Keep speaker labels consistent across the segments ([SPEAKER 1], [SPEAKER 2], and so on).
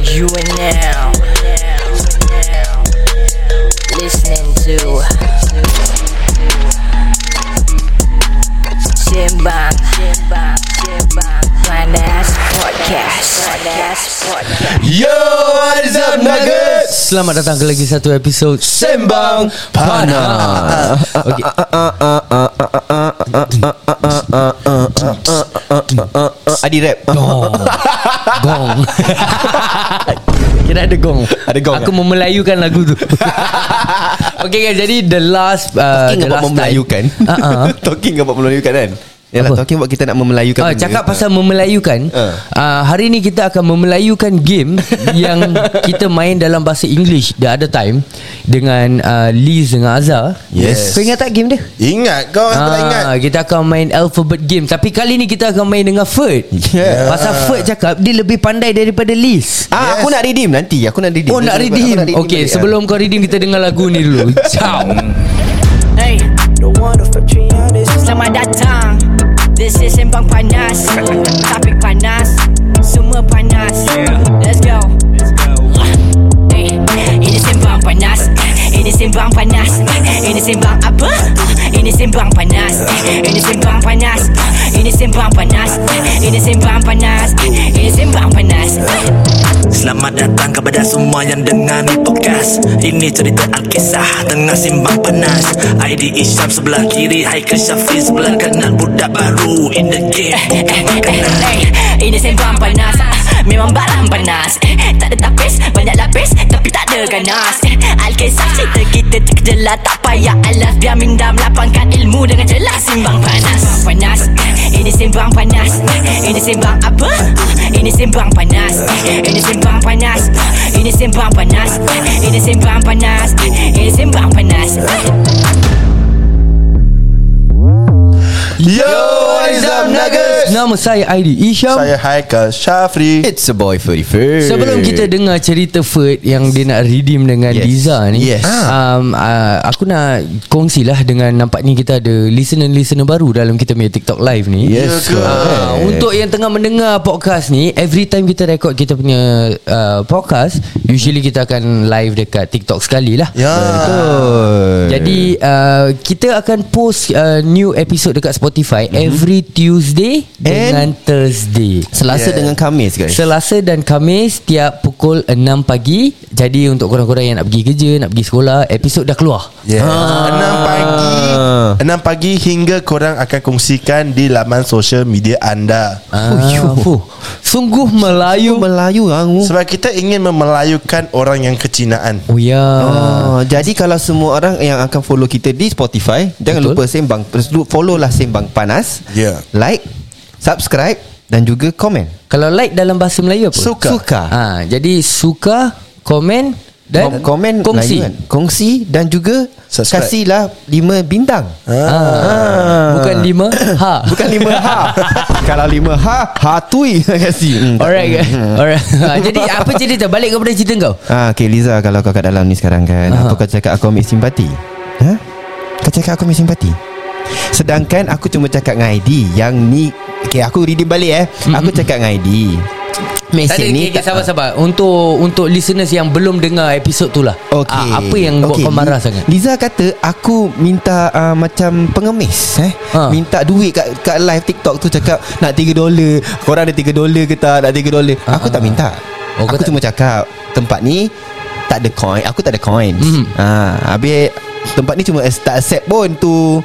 [SPEAKER 1] You are now listening to Simbang Panas Podcast Panas Podcast
[SPEAKER 2] Yo, what is up Nuggets?
[SPEAKER 3] Selamat datang ke lagi satu episod
[SPEAKER 2] Sembang Panas
[SPEAKER 3] Okey.
[SPEAKER 2] uh, Adi rap
[SPEAKER 3] Gong Gong Kira ada gong
[SPEAKER 2] Ada gong,
[SPEAKER 3] Aku
[SPEAKER 2] eh?
[SPEAKER 3] memelayukan lagu tu Okay guys Jadi the last uh,
[SPEAKER 2] Talking
[SPEAKER 3] The
[SPEAKER 2] about
[SPEAKER 3] last
[SPEAKER 2] memelayukan Uh-uh.
[SPEAKER 3] Ah, ah.
[SPEAKER 2] Talking about memelayukan kan Yalah,
[SPEAKER 3] Apa?
[SPEAKER 2] talking about kita nak memelayukan
[SPEAKER 3] Ah,
[SPEAKER 2] benda.
[SPEAKER 3] cakap pasal memelayukan
[SPEAKER 2] Ah.
[SPEAKER 3] uh, Hari ni kita akan memelayukan game Yang kita main dalam bahasa English The other time Dengan uh, Liz dengan Azhar
[SPEAKER 2] Yes.
[SPEAKER 3] Kau ingat tak game dia?
[SPEAKER 4] Ingat kau aku tak ingat
[SPEAKER 3] Ah, kita akan main alphabet game Tapi kali ni kita akan main dengan Ferd
[SPEAKER 2] Yeah.
[SPEAKER 3] Pasal Ferd cakap Dia lebih pandai daripada Liz
[SPEAKER 2] Ah, aku nak redeem nanti Aku nak redeem ya.
[SPEAKER 3] Oh nak
[SPEAKER 2] Aku
[SPEAKER 3] redeem
[SPEAKER 2] nak
[SPEAKER 3] Okay
[SPEAKER 2] balik.
[SPEAKER 3] sebelum kau redeem Kita dengar lagu ni dulu Ciao
[SPEAKER 1] Hey Selamat datang This is Sembang Panas Topik panas Semua panas Let's go Hey, Ini Sembang Panas Ini Sembang Panas Ini Sembang apa? Ini Sembang Panas Ini Sembang Panas Ini Sembang Panas Ini Sembang Panas Ini Sembang Panas
[SPEAKER 5] Selamat datang kepada semua yang dengar ni podcast Ini cerita Alkisah tengah simbang panas ID Isyam sebelah kiri Haikal Syafiq sebelah kanan Budak baru in the game bukan makanan
[SPEAKER 1] Eh, Ini sembang panas Ah, Memang barang panas Eh, Tak ada tapis Banyak lapis Tapi tak ada ganas Eh, Alkisah cerita kita terkejelah Tak payah alas Biar minda melapangkan ilmu Dengan jelas Simbang panas Sembang panas Eh, Ini sembang panas Eh, Ini sembang apa? Ah, Ini sembang panas Eh, Ini sembang panas Ah, Ini sembang panas Eh, Ini sembang panas Eh, Ini sembang panas Eh.
[SPEAKER 4] Yo what is up Nuggets
[SPEAKER 3] Nama saya Aidi Isham
[SPEAKER 4] Saya Haikal Syafri
[SPEAKER 2] It's a boy furry fur
[SPEAKER 3] Sebelum kita dengar cerita Ferd Yang dia nak redeem dengan
[SPEAKER 2] Yes.
[SPEAKER 3] Liza ni
[SPEAKER 2] Yes.
[SPEAKER 3] um, uh, Aku nak kongsilah dengan Nampaknya kita ada listener-listener baru Dalam kita punya TikTok live ni
[SPEAKER 2] Yes
[SPEAKER 4] Ya ke?
[SPEAKER 2] correct.
[SPEAKER 3] Ah, untuk yang tengah mendengar podcast ni Every time kita record kita punya uh, podcast Usually kita akan live dekat TikTok sekali lah
[SPEAKER 4] Ya
[SPEAKER 2] Betul
[SPEAKER 3] Jadi uh, kita akan post uh, new episode dekat Spotify
[SPEAKER 2] Mhm.
[SPEAKER 3] mm-hmm. Every Tuesday And dengan Thursday
[SPEAKER 2] Selasa
[SPEAKER 4] Yeah.
[SPEAKER 2] dengan Kamis guys
[SPEAKER 3] Selasa dan Kamis tiap pukul 6 pagi Jadi untuk korang-korang yang nak pergi kerja, nak pergi sekolah Episod dah keluar
[SPEAKER 2] Ya
[SPEAKER 4] Yeah. Ya.
[SPEAKER 2] Ah.
[SPEAKER 4] Enam pagi Enam pagi hingga korang akan kongsikan Di laman social media anda
[SPEAKER 3] Ah, fuh. Sungguh Melayu
[SPEAKER 2] Melayu hangu
[SPEAKER 4] Oh. Sebab kita ingin memelayukan orang yang kecinaan
[SPEAKER 3] Oh ya
[SPEAKER 2] Oh, jadi kalau semua orang yang akan follow kita di Spotify, Betul. jangan
[SPEAKER 3] Betul.
[SPEAKER 2] lupa sembang terus lu- follow lah sembang panas.
[SPEAKER 4] Ya.
[SPEAKER 2] Like, subscribe dan juga komen.
[SPEAKER 3] Kalau like dalam bahasa Melayu apa?
[SPEAKER 2] Suka. Suka.
[SPEAKER 3] Ha, jadi suka, komen dan
[SPEAKER 2] Kom- komen
[SPEAKER 3] kongsi.
[SPEAKER 2] Melayu kan? Kongsi dan juga
[SPEAKER 4] Subscribe.
[SPEAKER 2] kasihlah 5 bintang.
[SPEAKER 3] Ha. Bukan lima. Ha.
[SPEAKER 2] Ah. Bukan 5 ha. kalau 5 ha, hatui kasih. Hmm, tak-
[SPEAKER 3] Alright. guys. Alright. Ha, jadi apa cerita? Balik kepada cerita kau.
[SPEAKER 2] Ah, okay Liza kalau kau kat dalam ni sekarang kan
[SPEAKER 3] Aha.
[SPEAKER 2] Apa kau cakap aku ambil simpati? Ha? Kau cakap aku ambil simpati? Sedangkan aku cuma cakap dengan ID Yang ni Okay aku reading balik eh Aku cakap dengan ID Mesej
[SPEAKER 3] Tadi
[SPEAKER 2] ni
[SPEAKER 3] ni okay, sabar-sabar. Untuk untuk listeners yang belum dengar episod tu lah.
[SPEAKER 2] Okay.
[SPEAKER 3] Ah, apa yang buat
[SPEAKER 2] Okay,
[SPEAKER 3] kau
[SPEAKER 2] Li-
[SPEAKER 3] marah sangat?
[SPEAKER 2] Liza kata aku minta uh, macam pengemis eh. Ha.
[SPEAKER 3] Ha.
[SPEAKER 2] Minta duit kat kat live TikTok tu cakap nak 3 dolar. Korang ada 3 dolar ke tak? Nak 3 dolar.
[SPEAKER 3] Ha,
[SPEAKER 2] Aku
[SPEAKER 3] ha,
[SPEAKER 2] tak
[SPEAKER 3] ha.
[SPEAKER 2] minta.
[SPEAKER 3] Oh, kau
[SPEAKER 2] aku
[SPEAKER 3] tak-
[SPEAKER 2] cuma cakap tempat ni tak ada coin. Aku tak ada coins.
[SPEAKER 3] Mhm.
[SPEAKER 2] Ha, habis tempat ni cuma as- tak accept pun tu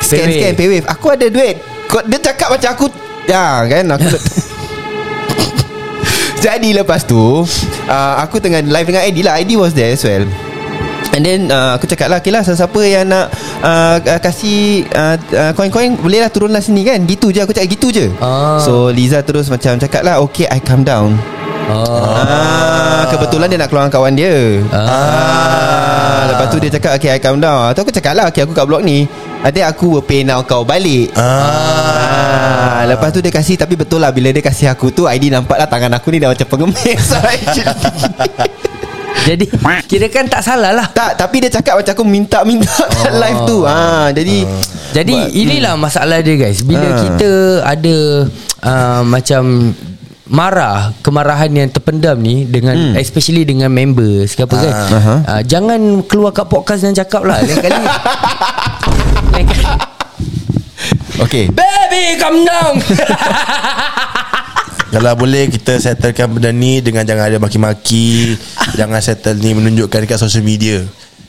[SPEAKER 2] scan
[SPEAKER 3] Paywave.
[SPEAKER 2] scan paywave. Aku ada duit. Kau dia cakap macam aku ya kan aku Jadi lepas tu uh, Aku tengah live dengan Aidy lah Aidy was there as well And then uh, aku cakap lah Okay lah siapa-siapa yang nak uh, uh, Kasih uh, uh, Koin-koin Boleh lah turunlah sini kan Gitu je aku cakap gitu je
[SPEAKER 3] Ah.
[SPEAKER 2] So Liza terus macam cakap lah Okay I calm down
[SPEAKER 3] Oh.
[SPEAKER 2] ah. Kebetulan dia nak keluar dengan kawan dia
[SPEAKER 3] Ah.
[SPEAKER 2] ah. Lepas tu dia cakap Okay I calm down Lepas tu aku cakap lah Okay aku kat blog ni Nanti aku will pay now kau balik Ah. Lepas tu dia kasih Tapi betul lah Bila dia kasih aku tu ID nampak lah Tangan aku ni dah macam pengemis
[SPEAKER 3] Jadi kira kan tak salah lah.
[SPEAKER 2] Tak tapi dia cakap macam aku minta-minta kat
[SPEAKER 3] Oh.
[SPEAKER 2] live tu ha, Jadi
[SPEAKER 3] Jadi hmm. Ah. inilah masalah dia guys
[SPEAKER 2] Ha.
[SPEAKER 3] Bila kita ada uh, Macam marah kemarahan yang terpendam ni dengan hmm. especially dengan members ke apa kan
[SPEAKER 2] aha.
[SPEAKER 3] uh, jangan keluar kat podcast dan cakap lah lain kali lain kali
[SPEAKER 2] Okay
[SPEAKER 3] baby come down
[SPEAKER 4] Kalau boleh kita settlekan benda ni dengan jangan ada maki-maki, jangan settle ni menunjukkan dekat social media.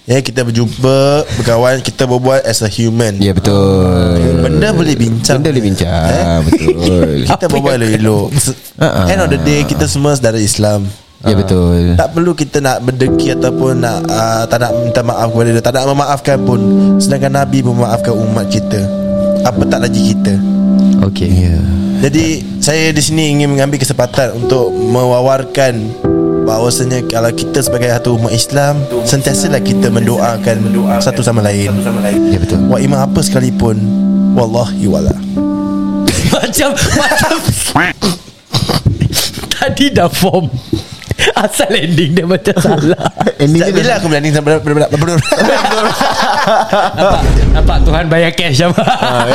[SPEAKER 4] Ya, kita berjumpa, berkawan, kita berbuat as a human.
[SPEAKER 2] Ya betul
[SPEAKER 4] Benda boleh bincang. Eh,
[SPEAKER 2] Benda boleh bincang Ah, Betul Ya,
[SPEAKER 4] Kita berbual elok-elok.
[SPEAKER 2] Ah, ah.
[SPEAKER 4] End of the day kita semua saudara Islam.
[SPEAKER 2] Ya betul
[SPEAKER 4] Tak perlu kita nak berdeki ataupun nak uh, tak nak minta maaf kepada dia, tak nak memaafkan pun. Sedangkan Nabi memaafkan umat kita. Apa tak lagi kita.
[SPEAKER 3] okay
[SPEAKER 4] Jadi saya di sini ingin mengambil kesempatan untuk mewawarkan bahawasanya kalau kita sebagai satu umat Islam sentiasalah kita mendoakan satu sama lain.
[SPEAKER 2] Ya betul
[SPEAKER 4] Wa imam apa sekalipun wallahi wala.
[SPEAKER 3] macam macam tadi dah form asal ending dia macam salah
[SPEAKER 4] Sejak bila aku berani sampai berapa
[SPEAKER 3] nampak, nampak Tuhan bayar cash sama
[SPEAKER 4] Eh,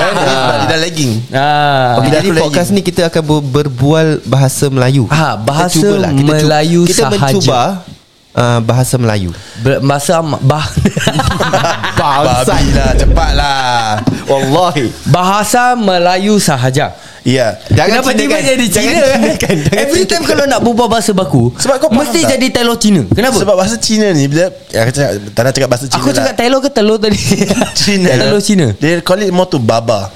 [SPEAKER 4] Tidak lagging.
[SPEAKER 3] ah.
[SPEAKER 2] Okay, Ah. jadi
[SPEAKER 4] Bila aku lagi-
[SPEAKER 2] podcast ni kita akan ber- berbual bahasa Melayu.
[SPEAKER 3] Ah, bahasa
[SPEAKER 2] cu-
[SPEAKER 3] Melayu
[SPEAKER 2] kita
[SPEAKER 3] sahaja.
[SPEAKER 2] mencuba uh, bahasa Melayu.
[SPEAKER 3] Ber- masa am- bah
[SPEAKER 4] Babi lah cepatlah.
[SPEAKER 2] Wallahi.
[SPEAKER 3] bahasa Melayu sahaja.
[SPEAKER 4] Ya.
[SPEAKER 3] Kenapa tiba jadi Cina? Every time kalau nak berbual bahasa baku,
[SPEAKER 4] Sebab kau faham
[SPEAKER 3] mesti
[SPEAKER 4] tak?
[SPEAKER 3] jadi telur Cina. Kenapa?
[SPEAKER 4] Sebab bahasa Cina ni bila ya, aku cakap tak nak cakap bahasa Cina.
[SPEAKER 3] aku
[SPEAKER 4] lah.
[SPEAKER 3] cakap telur ke telur tadi?
[SPEAKER 4] Cina. lah.
[SPEAKER 3] Telur Cina.
[SPEAKER 4] They call it more to baba.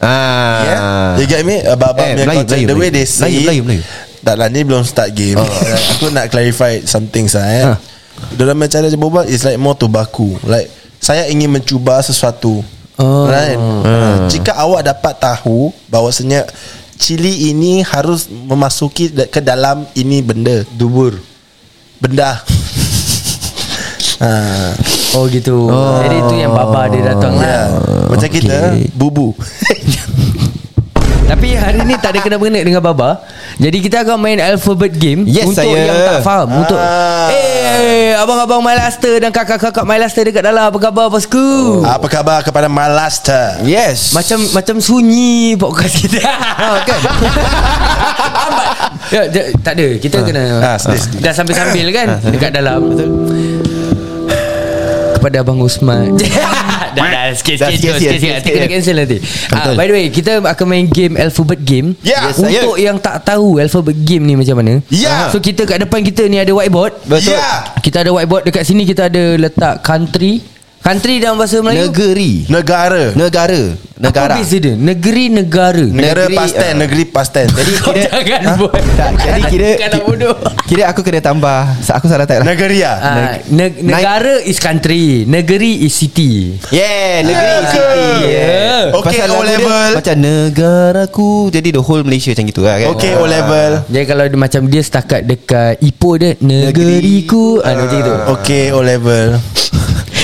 [SPEAKER 2] Ah.
[SPEAKER 4] Yeah. You get me? Uh, Abang
[SPEAKER 2] Eh,
[SPEAKER 4] eh,
[SPEAKER 2] Melayu,
[SPEAKER 4] content,
[SPEAKER 2] Melayu,
[SPEAKER 4] the way
[SPEAKER 2] Melayu.
[SPEAKER 4] they say
[SPEAKER 2] Melayu, Melayu, Oh. Melayu.
[SPEAKER 4] Tak lah, ni belum start game. aku nak clarify some things lah eh.
[SPEAKER 2] Ah.
[SPEAKER 3] Ha.
[SPEAKER 4] Dalam cara dia berbual is like more to baku. Like saya ingin mencuba sesuatu.
[SPEAKER 3] Oh.
[SPEAKER 4] Right?
[SPEAKER 2] Ah.
[SPEAKER 4] Ha, Jika awak dapat tahu bahawasanya cili ini harus memasuki da- ke dalam ini benda. Dubur. Benda. ha.
[SPEAKER 3] Oh gitu. Jadi itu yang baba dia datang lah.
[SPEAKER 4] Ya. Macam
[SPEAKER 2] Okay. Oh.
[SPEAKER 4] kita bubu.
[SPEAKER 3] Tapi hari ni tak ada kena mengena dengan baba. Jadi kita akan main alphabet game
[SPEAKER 2] Yes,
[SPEAKER 3] untuk
[SPEAKER 2] saya.
[SPEAKER 3] yang tak faham. Untuk
[SPEAKER 4] Ah.
[SPEAKER 3] eh abang-abang Malaster dan kakak-kakak Malaster dekat dalam apa khabar bosku?
[SPEAKER 4] Apa khabar kepada Malaster?
[SPEAKER 2] Yes.
[SPEAKER 3] Macam macam sunyi podcast kita. Ha kan. ya, ja, tak ada. Kita kena
[SPEAKER 4] ah, sedih, sedih.
[SPEAKER 3] dah sambil-sambil kan dekat dalam. Kepada abang Usman. dah dah
[SPEAKER 2] Dah, sikit,
[SPEAKER 3] sikit-sikit
[SPEAKER 2] sikit,
[SPEAKER 3] sikit-sikit nanti
[SPEAKER 2] sikit.
[SPEAKER 3] kena cancel nanti. Ah,
[SPEAKER 2] Betul.
[SPEAKER 3] by the way, kita akan main game alphabet game.
[SPEAKER 4] Ya,
[SPEAKER 3] Untuk yang tak tahu alphabet game ni macam mana.
[SPEAKER 4] Ya.
[SPEAKER 3] So kita kat depan kita ni ada whiteboard.
[SPEAKER 2] Betul.
[SPEAKER 4] Ya.
[SPEAKER 3] Kita ada whiteboard dekat sini kita ada letak country. Country dalam bahasa Melayu.
[SPEAKER 2] Negeri.
[SPEAKER 4] Negara.
[SPEAKER 2] Negara. Negara.
[SPEAKER 3] Apa beza dia? Negeri negara.
[SPEAKER 4] Negara
[SPEAKER 2] Negeri,
[SPEAKER 4] past tense,
[SPEAKER 2] ah.
[SPEAKER 4] negeri past tense. Jadi
[SPEAKER 3] Kau
[SPEAKER 2] Kira-
[SPEAKER 3] jangan buat.
[SPEAKER 2] Ha? Tak, jadi kira
[SPEAKER 3] Kalau bodoh.
[SPEAKER 2] Kira aku kena tambah. Sa- Aku salah tak lah.
[SPEAKER 4] Negaria.
[SPEAKER 3] Ah, neg- negara is country, negeri is city.
[SPEAKER 2] Yeah, negeri yeah. city. Yeah.
[SPEAKER 4] Okay, Ah,
[SPEAKER 2] lagu
[SPEAKER 4] O
[SPEAKER 2] dia
[SPEAKER 4] level.
[SPEAKER 2] Macam negaraku. Jadi the whole Malaysia macam gitu lah kan.
[SPEAKER 4] Okay, O level.
[SPEAKER 3] Jadi kalau dia, macam dia setakat dekat Ipoh dia negeriku ah macam gitu.
[SPEAKER 4] Okay, O level.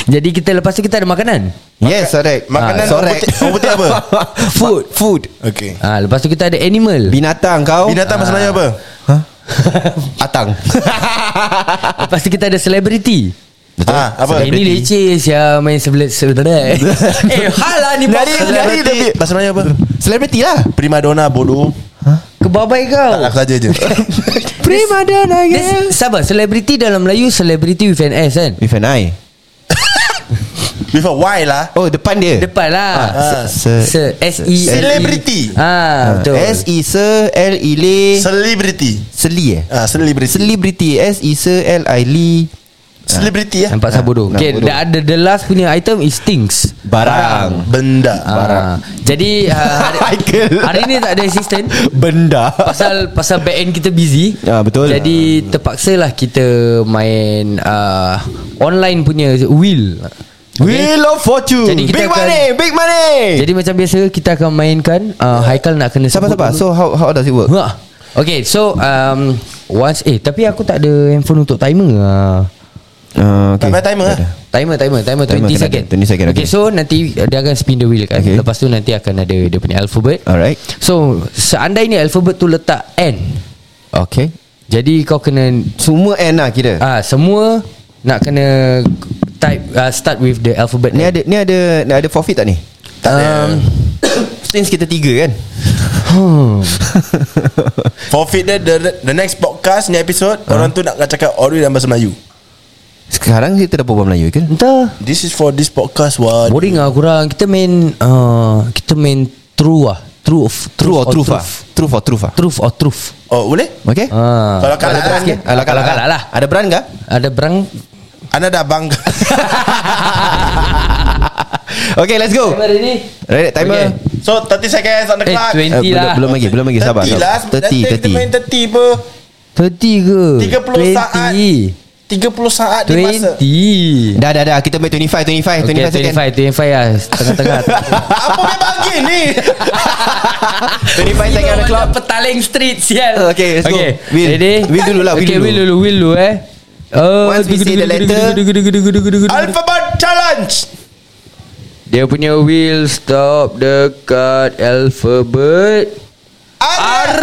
[SPEAKER 3] Jadi kita lepas tu kita ada makanan.
[SPEAKER 2] Yes, sorek.
[SPEAKER 4] Makanan
[SPEAKER 2] Ah, sorek.
[SPEAKER 4] orang putih- orang putih apa?
[SPEAKER 2] Food. Food.
[SPEAKER 4] Okay.
[SPEAKER 3] Ah lepas tu kita ada animal.
[SPEAKER 2] Binatang kau. Ah.
[SPEAKER 4] Binatang bahasa Melayu apa?
[SPEAKER 2] Atang.
[SPEAKER 3] lepas tu kita ada celebrity.
[SPEAKER 4] Ah,
[SPEAKER 3] Apa
[SPEAKER 4] apa?
[SPEAKER 3] ini leceh sia main sebelah sebelah. eh halah ni
[SPEAKER 2] Lari,
[SPEAKER 3] pasal
[SPEAKER 2] lari.
[SPEAKER 4] Celebrity. Bahasa Melayu apa?
[SPEAKER 2] Celebrity lah.
[SPEAKER 4] Primadona bodoh.
[SPEAKER 3] kebabai kau.
[SPEAKER 4] Tak, Aku saja je.
[SPEAKER 2] Prima donna
[SPEAKER 3] This, sabar, celebrity dalam Melayu celebrity with an S kan?
[SPEAKER 2] With an I
[SPEAKER 4] With a Y lah.
[SPEAKER 2] Oh depan dia
[SPEAKER 3] Depan lah.
[SPEAKER 2] Ah,
[SPEAKER 3] Se, se, S E
[SPEAKER 4] Celebrity.
[SPEAKER 3] Ah, betul.
[SPEAKER 2] S E S L I L
[SPEAKER 4] Celebrity.
[SPEAKER 2] Seli eh
[SPEAKER 4] Ah, celebrity.
[SPEAKER 2] Celebrity S E S L I L
[SPEAKER 4] Celebrity ya.
[SPEAKER 3] Nampak saya bodoh.
[SPEAKER 2] E. nampak
[SPEAKER 3] Okay,
[SPEAKER 2] bodoh.
[SPEAKER 3] dah ada the last punya item is things.
[SPEAKER 2] Barang
[SPEAKER 4] Benda.
[SPEAKER 3] Ah, jadi ah, hari,
[SPEAKER 2] Michael.
[SPEAKER 3] hari ni tak ada assistant
[SPEAKER 2] Benda
[SPEAKER 3] pasal pasal back end kita busy.
[SPEAKER 2] Ah, betul.
[SPEAKER 3] Jadi terpaksalah kita main ah, online punya wheel.
[SPEAKER 2] Wheel of Fortune
[SPEAKER 3] Jadi kita
[SPEAKER 2] Big
[SPEAKER 3] akan-
[SPEAKER 2] money Big money
[SPEAKER 3] Jadi macam biasa kita akan mainkan ah, Haikal nak kena
[SPEAKER 2] Sabar sabar
[SPEAKER 3] sebut dulu.
[SPEAKER 2] So how how does it work
[SPEAKER 3] Ha. Okay so um, Once Eh tapi aku tak ada Handphone untuk timer lah
[SPEAKER 2] uh,
[SPEAKER 4] Tak payah timer lah.
[SPEAKER 3] Timer timer timer 20
[SPEAKER 2] Timer kena
[SPEAKER 3] second
[SPEAKER 2] ada, 20 second,
[SPEAKER 3] Okay
[SPEAKER 2] okay.
[SPEAKER 3] so nanti Dia akan spin the wheel kan
[SPEAKER 2] Okay.
[SPEAKER 3] okay. Lepas tu nanti akan ada Dia punya alphabet
[SPEAKER 2] Alright
[SPEAKER 3] So seandainya alphabet tu letak N
[SPEAKER 2] Okay
[SPEAKER 3] Jadi kau kena
[SPEAKER 2] Semua N lah kira
[SPEAKER 3] ah Semua Nak kena Type uh, Start with the alphabet
[SPEAKER 2] Ni
[SPEAKER 3] N. Um,
[SPEAKER 2] ada ni ada ni ada forfeit tak ni
[SPEAKER 4] Tak ada.
[SPEAKER 2] Since kita tiga kan
[SPEAKER 3] Hmm.
[SPEAKER 4] Forfeit dia the, the next podcast ni episode uh. orang tu nak cakap Ori dan bahasa Melayu.
[SPEAKER 2] Sekarang kita dah berbual Melayu kan
[SPEAKER 3] Entah
[SPEAKER 4] This is for this podcast what.
[SPEAKER 3] Boring lah kurang Kita main uh, Kita main True lah True of
[SPEAKER 2] True or
[SPEAKER 3] of
[SPEAKER 2] truth ah? True or truth ah?
[SPEAKER 3] Truth or truth
[SPEAKER 4] Oh boleh?
[SPEAKER 2] Okay
[SPEAKER 3] Ah.
[SPEAKER 4] Kalau kalah
[SPEAKER 2] Ada beran
[SPEAKER 4] kan?
[SPEAKER 2] ke? Kalau kalah,
[SPEAKER 3] Kalau kalah lah.
[SPEAKER 2] Ada beran ke?
[SPEAKER 3] Ada berang
[SPEAKER 4] Anda dah bangga.
[SPEAKER 2] Okay let's go
[SPEAKER 3] Timer ni
[SPEAKER 2] Right timer
[SPEAKER 3] Okay.
[SPEAKER 4] so 30 seconds on the
[SPEAKER 3] Eh,
[SPEAKER 4] clock.
[SPEAKER 3] 20
[SPEAKER 2] Eh, belum,
[SPEAKER 3] lah
[SPEAKER 2] belum lagi Belum lagi sabar
[SPEAKER 4] 30
[SPEAKER 2] sabar.
[SPEAKER 4] lah. 30 Kita main
[SPEAKER 2] 30 30
[SPEAKER 4] 30 apa?
[SPEAKER 3] 30 ke
[SPEAKER 4] 30 saat. 30 saat di masa.
[SPEAKER 3] 20
[SPEAKER 2] Dah dah dah Kita main 25 25
[SPEAKER 3] Okay
[SPEAKER 2] 25 second
[SPEAKER 3] 25 25 lah Tengah-tengah
[SPEAKER 4] Apa main bagi ni?
[SPEAKER 2] 25 second on the clock
[SPEAKER 3] Petaling street sial
[SPEAKER 2] Okay, let's go.
[SPEAKER 3] okay.
[SPEAKER 2] Will.
[SPEAKER 3] Ready
[SPEAKER 2] Will dulu lah, Will
[SPEAKER 3] Okay
[SPEAKER 2] dulu.
[SPEAKER 3] Will dulu Will dulu eh Oh,
[SPEAKER 2] Once we
[SPEAKER 3] dugu,
[SPEAKER 2] see the
[SPEAKER 3] dugu, dugu,
[SPEAKER 2] letter,
[SPEAKER 3] dugu, dugu, dugu, dugu, dugu, dugu.
[SPEAKER 4] Alphabet challenge.
[SPEAKER 3] Dia punya wheel stop dekat alphabet
[SPEAKER 4] Ada.
[SPEAKER 3] R.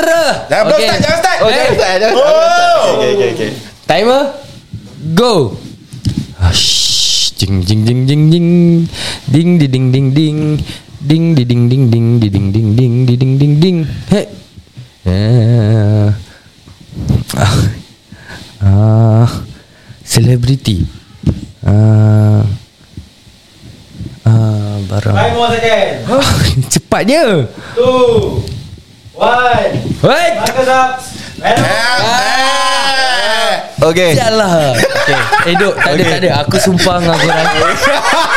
[SPEAKER 4] Jangan belum start, jangan start.
[SPEAKER 3] Okay.
[SPEAKER 2] Ustaz, ada Ustaz, ada Ustaz.
[SPEAKER 4] Ah. Oh.
[SPEAKER 2] Okay okay okay
[SPEAKER 3] Timer Go Ah, shh. Ding ding ding ding ding Ding di ding ding ding Ding di ding ding ding di ding ding ding di ding ding ding Hey Ah. Ah Ah Selebriti Ah Ah Barang Five more second Cepatnya Two One Wait
[SPEAKER 2] Okay
[SPEAKER 3] Jalah okay. Eh dok tak ada tak ada Aku sumpah dengan korang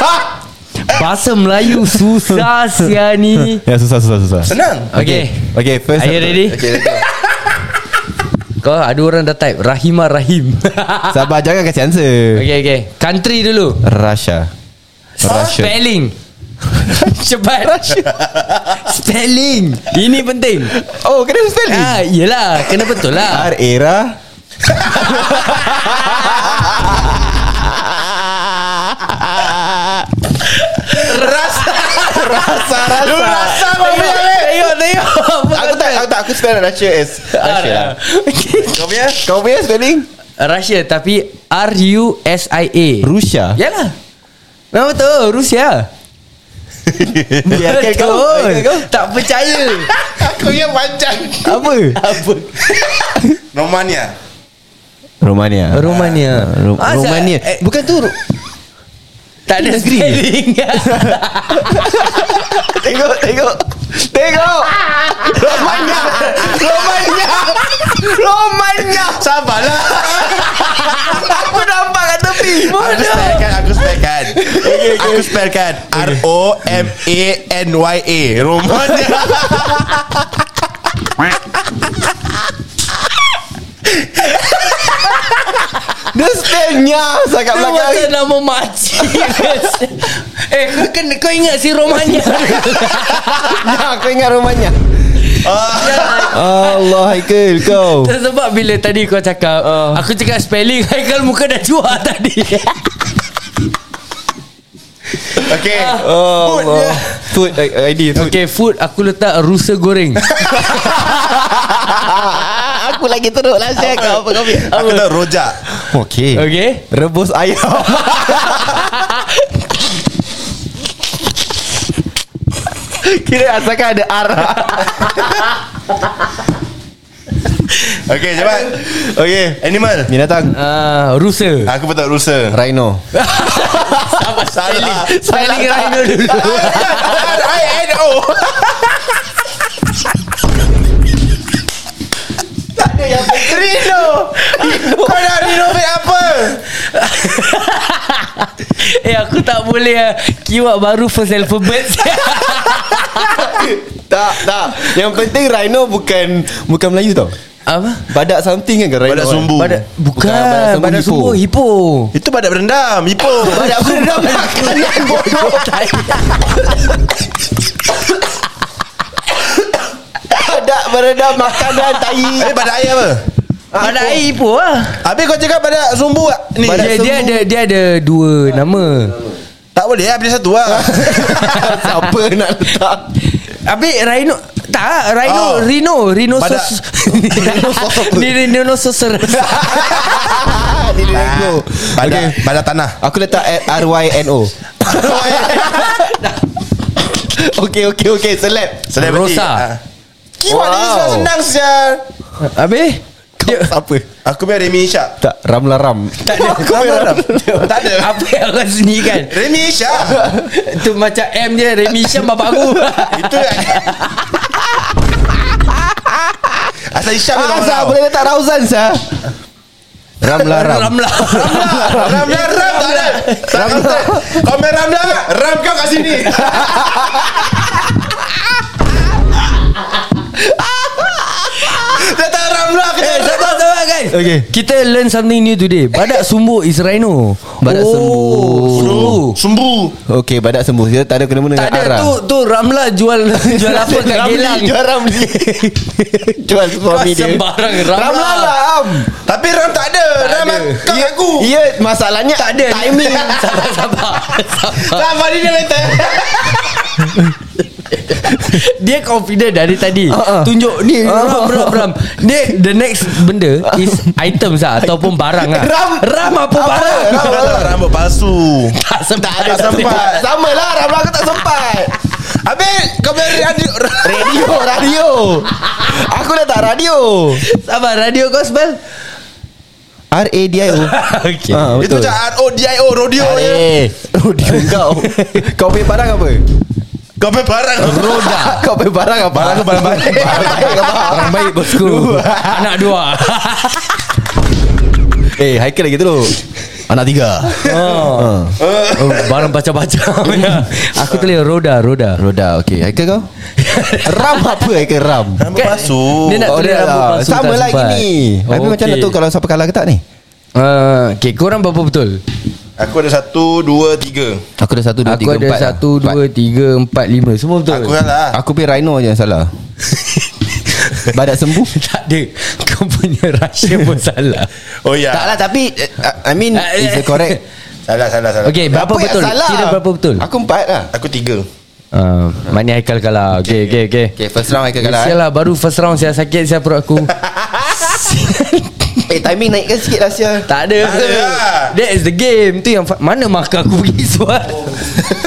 [SPEAKER 3] Bahasa Melayu susah sia ni
[SPEAKER 2] Ya susah susah susah
[SPEAKER 4] Senang.
[SPEAKER 3] Okay
[SPEAKER 2] Okay first
[SPEAKER 3] Are you ready?
[SPEAKER 2] Okay let's go.
[SPEAKER 3] Kau ada orang dah type Rahimah Rahim
[SPEAKER 2] Sabar jangan kasi answer
[SPEAKER 3] Okay okay Country dulu
[SPEAKER 2] Russia Russia.
[SPEAKER 3] Spelling Cepat Spelling Ini penting
[SPEAKER 2] Oh kena spelling
[SPEAKER 3] ah, Yelah Kena betul
[SPEAKER 2] R
[SPEAKER 3] lah
[SPEAKER 2] era rasa rasa rasa
[SPEAKER 4] Rasa apa punya ni?
[SPEAKER 3] Tengok tengok
[SPEAKER 2] aku tak aku tak aku spell Russia as Russia lah.
[SPEAKER 4] Kau punya?
[SPEAKER 2] Kau punya spelling
[SPEAKER 3] Russia Tapi R-U-S-I-A
[SPEAKER 2] Russia.
[SPEAKER 3] Yalah Nama tu Rusia
[SPEAKER 2] Biarkan kau. Biarkan kau.
[SPEAKER 3] Tak percaya
[SPEAKER 4] Aku punya panjang.
[SPEAKER 2] Apa?
[SPEAKER 4] Romania.
[SPEAKER 2] Romania. Ah,
[SPEAKER 3] Romania
[SPEAKER 2] Ro-
[SPEAKER 3] Asal-
[SPEAKER 2] Romania.
[SPEAKER 3] eh,
[SPEAKER 2] Bukan tu
[SPEAKER 3] Tak ada
[SPEAKER 2] negeri.
[SPEAKER 3] spelling
[SPEAKER 2] Tengok Tengok Tengok Romania Romania Romania
[SPEAKER 4] Sabarlah.
[SPEAKER 2] Aku nampak kat tepi
[SPEAKER 4] Aku spellkan, aku spellkan. Aku spellkan. R O M A N Y A. Romania.
[SPEAKER 2] Dia spellnya Sangat
[SPEAKER 3] Dia
[SPEAKER 2] belakang
[SPEAKER 3] macam nama makcik Eh kau, kena, kau ingat si Romania
[SPEAKER 2] Ya aku ingat Romania Allah Haikal kau
[SPEAKER 3] Sebab bila tadi kau cakap uh. Aku cakap spelling Haikal muka dah jual tadi
[SPEAKER 4] Okay.
[SPEAKER 2] Oh Allah Food eh, ID food
[SPEAKER 3] Okay food aku letak rusa goreng
[SPEAKER 2] Aku lagi teruk lah Syek Kau apa kau
[SPEAKER 4] Aku dah rojak.
[SPEAKER 2] Okay
[SPEAKER 3] Okay
[SPEAKER 2] Rebus ayam Kira asalkan ada arah
[SPEAKER 4] Okay, cepat.
[SPEAKER 2] Okay
[SPEAKER 4] Animal.
[SPEAKER 2] Binatang
[SPEAKER 3] uh, Rusa
[SPEAKER 4] Aku betul rusa.
[SPEAKER 2] Rhino
[SPEAKER 4] Salah.
[SPEAKER 3] Spelling rhino dulu
[SPEAKER 4] R I N O. Rino Kau nak renovate apa
[SPEAKER 3] Eh aku tak boleh ah. Keyword baru first alphabet
[SPEAKER 2] Tak tak Yang penting Rhino bukan Bukan Melayu tau
[SPEAKER 3] Apa?
[SPEAKER 2] Badak something kan ke Rhino
[SPEAKER 4] Badak sumbu
[SPEAKER 3] Badak Bukan, Bukan Badak sumbu Hipo
[SPEAKER 4] Itu badak berendam Ipo
[SPEAKER 2] Badak sumbu Makanan bodoh Badak beredam makanan tai
[SPEAKER 4] Eh badak air apa
[SPEAKER 3] Badak air
[SPEAKER 2] ah.
[SPEAKER 3] Hipo lah
[SPEAKER 4] Habis kau cakap badak sumbu Ni
[SPEAKER 3] dia, dia ada dia ada dua nama.
[SPEAKER 4] Tak boleh lah Pilih satu lah
[SPEAKER 2] Siapa nak letak
[SPEAKER 3] Abi Rhino tak Rhino
[SPEAKER 4] Ah.
[SPEAKER 3] Rhino Rhino
[SPEAKER 4] Badak.
[SPEAKER 3] sos Ni Rhino sos
[SPEAKER 2] Ni dia Rhino
[SPEAKER 4] Badak
[SPEAKER 2] Okay
[SPEAKER 4] Badak tanah
[SPEAKER 2] Aku letak R-Y-N-O
[SPEAKER 4] Oh, ya.
[SPEAKER 2] Okay okay okay Seleb
[SPEAKER 4] Celebrity
[SPEAKER 3] Rosa.
[SPEAKER 4] Ah. Kiwat wow. ni senang senang sial.
[SPEAKER 3] Habis dia,
[SPEAKER 2] Apa?
[SPEAKER 4] Aku biar Remy Ishak.
[SPEAKER 2] Tak, Ramla Ram
[SPEAKER 3] Tak ada
[SPEAKER 4] Kau biar Tak ada.
[SPEAKER 3] Apa yang kau sendirikan
[SPEAKER 4] Remy Ishak.
[SPEAKER 3] Tu macam M dia Remy Syam bapak aku
[SPEAKER 4] ah. Itu yang Asal Ishak ni
[SPEAKER 2] Ah,
[SPEAKER 4] orang
[SPEAKER 2] Zah,
[SPEAKER 4] Laos.
[SPEAKER 2] boleh letak Rauzan Zah Ramla Ram
[SPEAKER 3] Ramlah
[SPEAKER 4] Ramla Ram tak ada Tak ada Komen Ramla Ram kau kat sini Datang Ramla ke
[SPEAKER 3] Eh, sabar, sabar guys.
[SPEAKER 2] Okay.
[SPEAKER 3] Kita learn something new today. Badak sumbu is rhino. Oh,
[SPEAKER 2] Badak
[SPEAKER 3] Sumbu.
[SPEAKER 4] Sumbu
[SPEAKER 2] Okay, badak sembuh Dia tak ada kena-mena
[SPEAKER 3] Tak
[SPEAKER 2] dengan
[SPEAKER 3] ada
[SPEAKER 2] arah
[SPEAKER 3] tu tu Ramla jual jual apa kat
[SPEAKER 2] Ramli,
[SPEAKER 3] Gelang.
[SPEAKER 2] Jual Ramli Jual
[SPEAKER 3] Kau
[SPEAKER 2] suami dia
[SPEAKER 3] sembarang Ramla.
[SPEAKER 2] Ramla lah Am
[SPEAKER 4] Tapi Ram tak ada Ram kau kat aku
[SPEAKER 2] Ya, masalahnya
[SPEAKER 3] Tak ada timing. Sabar sabar. sabar.
[SPEAKER 4] Ram hari dia kata
[SPEAKER 3] Dia confident dari tadi. Tunjuk ni Ram Ram Ram. Ni the next benda is items lah ataupun barang lah.
[SPEAKER 2] Ram.
[SPEAKER 3] Ah. Ram apa barang?
[SPEAKER 4] Ram rambut palsu
[SPEAKER 3] Tak sempat.
[SPEAKER 4] Tak sempat
[SPEAKER 2] Sama lah Ramla aku tak sempat
[SPEAKER 4] Habis kau biar radio
[SPEAKER 2] Radio Radio Aku dah tak radio
[SPEAKER 3] Sabar radio kau spell.
[SPEAKER 2] R-A-D-I-O
[SPEAKER 3] Okay.
[SPEAKER 2] Ah,
[SPEAKER 4] Itu
[SPEAKER 2] betul.
[SPEAKER 4] macam R-O-D-I-O Rodeo je
[SPEAKER 2] Eh, rodeo kau. Kau punya barang apa?
[SPEAKER 4] Kau biar barang
[SPEAKER 3] Roda.
[SPEAKER 2] Kau punya barang apa?
[SPEAKER 4] Barang aku barang baik
[SPEAKER 3] Orang baik bosku. Anak dua.
[SPEAKER 2] Eh, Haikal lagi dulu. Anak tiga. Ah,
[SPEAKER 3] Oh. oh barang baca-baca. Ya. Aku tulis roda, roda.
[SPEAKER 2] Roda, okey. Haikal kau? ram apa Haikal ram?
[SPEAKER 4] Rambut palsu
[SPEAKER 3] Dia nak
[SPEAKER 2] Oh,
[SPEAKER 3] tulis
[SPEAKER 2] dia
[SPEAKER 3] rambut
[SPEAKER 2] lah.
[SPEAKER 3] palsu
[SPEAKER 2] Sama
[SPEAKER 3] tak
[SPEAKER 2] lagi
[SPEAKER 3] sempat.
[SPEAKER 2] ni. Tapi macam mana
[SPEAKER 3] Okey.
[SPEAKER 2] tu kalau siapa kalah ke tak ni?
[SPEAKER 3] Ah, okay, korang berapa betul?
[SPEAKER 4] Aku ada satu Dua Tiga
[SPEAKER 2] Aku ada satu, dua,
[SPEAKER 3] Aku
[SPEAKER 2] tiga,
[SPEAKER 3] ada
[SPEAKER 2] empat. lah.
[SPEAKER 3] satu,
[SPEAKER 2] Empat.
[SPEAKER 3] dua, tiga, empat, lima Semua betul
[SPEAKER 4] Aku kalah
[SPEAKER 2] Aku pilih Rhino je yang salah. Badak sembuh.
[SPEAKER 3] Tak ada Kau punya rahsia pun salah
[SPEAKER 4] Oh ya
[SPEAKER 2] Tak lah tapi eh, I mean
[SPEAKER 3] Ah, eh.
[SPEAKER 2] is it correct?
[SPEAKER 4] Salah salah salah
[SPEAKER 3] Okay, berapa
[SPEAKER 2] Apa yang
[SPEAKER 3] betul?
[SPEAKER 2] salah?
[SPEAKER 3] Kira berapa betul?
[SPEAKER 2] Aku empat lah.
[SPEAKER 4] Aku tiga
[SPEAKER 3] Ah, Maknanya Haikal kalah Okay, okay, okay,
[SPEAKER 2] Okay, first round Haikal kalah.
[SPEAKER 3] Sial
[SPEAKER 2] eh.
[SPEAKER 3] lah baru first round Saya sakit saya perut aku
[SPEAKER 2] Eh, timing naikkan sikit lah Sial.
[SPEAKER 3] Tak ada
[SPEAKER 4] Tak ada lah.
[SPEAKER 3] That is the game Tu yang fa- Mana markah aku pergi suar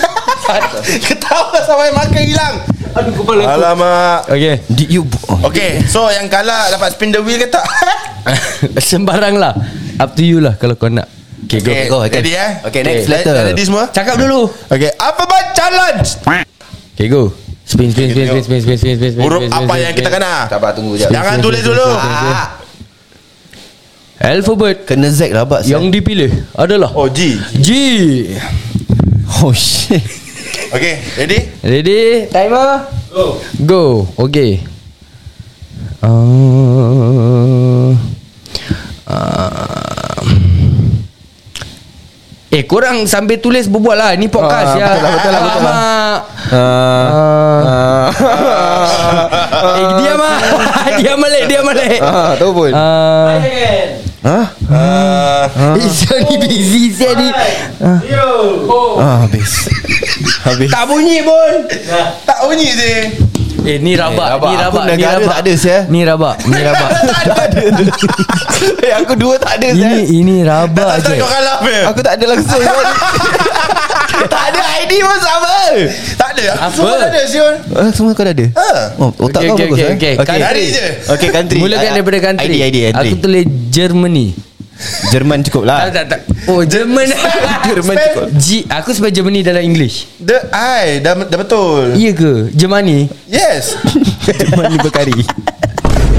[SPEAKER 4] Ketawa sampai makan hilang
[SPEAKER 3] Aduh kepala aku
[SPEAKER 4] Alamak
[SPEAKER 3] Okay
[SPEAKER 2] Did you oh.
[SPEAKER 4] Okay So yang kalah Dapat spin the wheel ke tak
[SPEAKER 3] Sembarang lah Up to you lah Kalau kau nak Okay, okay.
[SPEAKER 2] go, Haikal.
[SPEAKER 4] Ready eh
[SPEAKER 2] Okay, next
[SPEAKER 4] Dah-
[SPEAKER 2] letter.
[SPEAKER 4] dah Ready semua
[SPEAKER 3] go Cakap dulu
[SPEAKER 4] Okay Apa buat challenge
[SPEAKER 3] Okay go Spin spin spin spin
[SPEAKER 4] Okay,
[SPEAKER 3] spin spin spin spin spin
[SPEAKER 4] Huruf
[SPEAKER 3] spin,
[SPEAKER 4] apa
[SPEAKER 3] spin,
[SPEAKER 4] yang
[SPEAKER 3] spin.
[SPEAKER 4] kita kena
[SPEAKER 2] Sabar tunggu jap.
[SPEAKER 4] Jangan
[SPEAKER 3] Spin,
[SPEAKER 4] tulis
[SPEAKER 3] spin,
[SPEAKER 4] dulu Ah,
[SPEAKER 3] spin, spin, spin. Alphabet
[SPEAKER 2] Kena Zack lah bak
[SPEAKER 3] Yang dipilih adalah
[SPEAKER 4] Oh G
[SPEAKER 3] G
[SPEAKER 2] Oh shit
[SPEAKER 4] Okay Ready
[SPEAKER 3] Ready Timer Go Okay uh, uh, Eh korang sambil tulis berbual lah Ni podcast
[SPEAKER 2] Ah,
[SPEAKER 3] ya Ah,
[SPEAKER 2] betul lah, betul lah, betul lah.
[SPEAKER 3] Alamak.
[SPEAKER 2] uh,
[SPEAKER 3] Ah.
[SPEAKER 2] uh,
[SPEAKER 3] Eh diam ah Diam balik Diam balik
[SPEAKER 2] uh, Tahu pun uh,
[SPEAKER 3] Ah.
[SPEAKER 2] huh?
[SPEAKER 4] Ah,
[SPEAKER 3] Izzah Eh, ni busy Izzah ni
[SPEAKER 2] ah, Habis Habis
[SPEAKER 3] Tak bunyi pun
[SPEAKER 4] Tak bunyi sih
[SPEAKER 3] Eh ni
[SPEAKER 2] Eh,
[SPEAKER 3] rabak
[SPEAKER 2] rabak.
[SPEAKER 3] Ni
[SPEAKER 2] Aku
[SPEAKER 3] rabak Ni
[SPEAKER 2] negara
[SPEAKER 3] rabak
[SPEAKER 2] tak ada, Syah.
[SPEAKER 3] Ni rabak Ni rabak
[SPEAKER 2] Eh aku dua tak ada
[SPEAKER 3] Ini
[SPEAKER 2] Zack
[SPEAKER 3] ini rabak
[SPEAKER 2] Ah,
[SPEAKER 4] Tak
[SPEAKER 3] je
[SPEAKER 4] kau kalah Fir.
[SPEAKER 2] Aku tak ada langsung Tak ada ID pun sama
[SPEAKER 4] Tak ada Aku
[SPEAKER 3] Apa?
[SPEAKER 4] semua tak ada Sion
[SPEAKER 2] uh, Semua kau dah ada
[SPEAKER 4] Ah.
[SPEAKER 2] oh, Otak
[SPEAKER 3] Okay,
[SPEAKER 2] kau
[SPEAKER 3] okay,
[SPEAKER 2] bagus
[SPEAKER 3] okay,
[SPEAKER 2] eh?
[SPEAKER 3] okay.
[SPEAKER 2] okay.
[SPEAKER 4] Dari je
[SPEAKER 2] okay country
[SPEAKER 3] Mulakan
[SPEAKER 2] Ah,
[SPEAKER 3] daripada country
[SPEAKER 2] ID, ID,
[SPEAKER 3] Aku
[SPEAKER 2] country
[SPEAKER 3] tulis Germany
[SPEAKER 2] Jerman cukup lah
[SPEAKER 3] Tak tak tak Oh Jerman
[SPEAKER 2] Jerman cukup
[SPEAKER 3] G Aku sebab Germany dalam English
[SPEAKER 4] The I Dah, dah betul
[SPEAKER 3] Iya ke Germany
[SPEAKER 4] Yes
[SPEAKER 2] Jerman ni berkari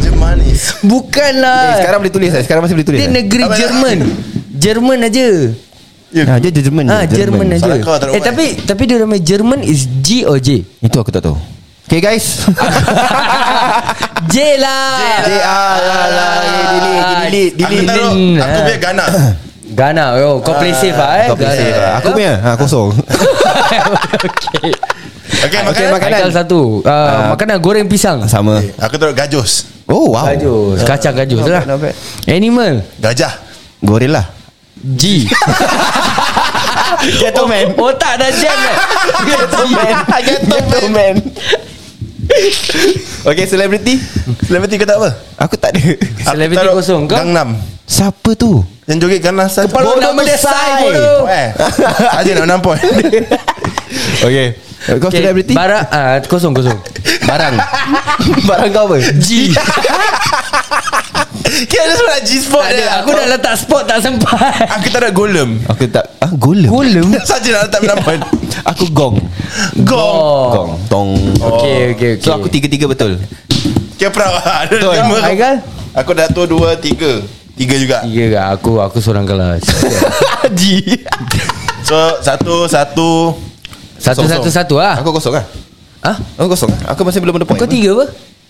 [SPEAKER 4] Jemanis
[SPEAKER 2] eh,
[SPEAKER 3] Bukanlah
[SPEAKER 2] Sekarang boleh tulis eh? Sekarang masih boleh tulis
[SPEAKER 3] Dia
[SPEAKER 2] eh?
[SPEAKER 3] negeri
[SPEAKER 4] Apa-
[SPEAKER 3] Jerman Jerman aja
[SPEAKER 2] Ah, Dia Jerman je,
[SPEAKER 3] Ah Jerman aja
[SPEAKER 4] Salah kau, tak
[SPEAKER 3] Eh
[SPEAKER 4] ada Y.
[SPEAKER 3] tapi Tapi dia nama Jerman is G or J
[SPEAKER 2] Itu aku tak tahu Okay guys
[SPEAKER 3] J lah
[SPEAKER 2] J ah, lah, lah, eh, delete, delete,
[SPEAKER 4] Aku
[SPEAKER 2] delete. Ah.
[SPEAKER 4] taruh
[SPEAKER 3] Lin.
[SPEAKER 4] Aku biar Ghana
[SPEAKER 3] Ghana oh, Kau play safe lah eh
[SPEAKER 2] Kau boleh save lah. Aku punya ha, kosong
[SPEAKER 3] Okay
[SPEAKER 4] Okay
[SPEAKER 3] Okay,
[SPEAKER 4] makan kan?
[SPEAKER 2] makanan.
[SPEAKER 3] makanan Haikal satu uh, Makanan goreng pisang
[SPEAKER 2] Sama
[SPEAKER 4] Aku taruh gajus
[SPEAKER 2] Oh wow
[SPEAKER 3] Gajus Kacang gajus
[SPEAKER 2] Not
[SPEAKER 3] lah
[SPEAKER 2] bad, not bad.
[SPEAKER 3] Animal
[SPEAKER 4] Gajah
[SPEAKER 2] Goril lah
[SPEAKER 3] G
[SPEAKER 2] Gentleman
[SPEAKER 3] Otak dah jam eh.
[SPEAKER 2] Gentleman Gentleman Okay celebrity
[SPEAKER 4] Celebrity ke tak apa
[SPEAKER 2] Aku tak ada
[SPEAKER 3] Celebrity
[SPEAKER 4] taruh
[SPEAKER 3] kosong kau
[SPEAKER 4] Gangnam
[SPEAKER 2] Siapa tu
[SPEAKER 4] Yang joget Gangnam Style
[SPEAKER 3] Kepala
[SPEAKER 4] Bodoh
[SPEAKER 3] nama dia
[SPEAKER 4] tu
[SPEAKER 3] Sai,
[SPEAKER 4] Sai.
[SPEAKER 3] bodoh.
[SPEAKER 4] Eh Aja nak nampak
[SPEAKER 2] Okay Kau
[SPEAKER 3] Okay,
[SPEAKER 2] celebrity
[SPEAKER 3] Bara ah, Kosong kosong
[SPEAKER 2] Barang Barang kau apa?
[SPEAKER 3] G
[SPEAKER 4] Kira ada surat G-spot
[SPEAKER 3] Tak ada Aku dah letak spot tak sempat
[SPEAKER 4] Aku tak nak golem
[SPEAKER 2] Aku tak ah, Golem
[SPEAKER 3] Golem
[SPEAKER 4] Saja nak letak penampan
[SPEAKER 2] Aku gong
[SPEAKER 4] Gong
[SPEAKER 3] Oh
[SPEAKER 2] Gong Tong
[SPEAKER 3] Okay okay okay
[SPEAKER 2] So aku kan? tiga-tiga betul
[SPEAKER 4] Kira proud lah Ada
[SPEAKER 2] Betul.
[SPEAKER 4] lima
[SPEAKER 3] Haikal
[SPEAKER 4] Aku dah tua dua tiga Tiga juga
[SPEAKER 3] Tiga lah Aku aku seorang kelas
[SPEAKER 2] Haji
[SPEAKER 4] So satu Satu
[SPEAKER 3] Satu
[SPEAKER 4] Kosong.
[SPEAKER 3] satu satu lah
[SPEAKER 2] Aku kosong lah
[SPEAKER 3] Ah,
[SPEAKER 2] Aku kosong lah Aku masih belum ada point
[SPEAKER 3] Kau tiga apa?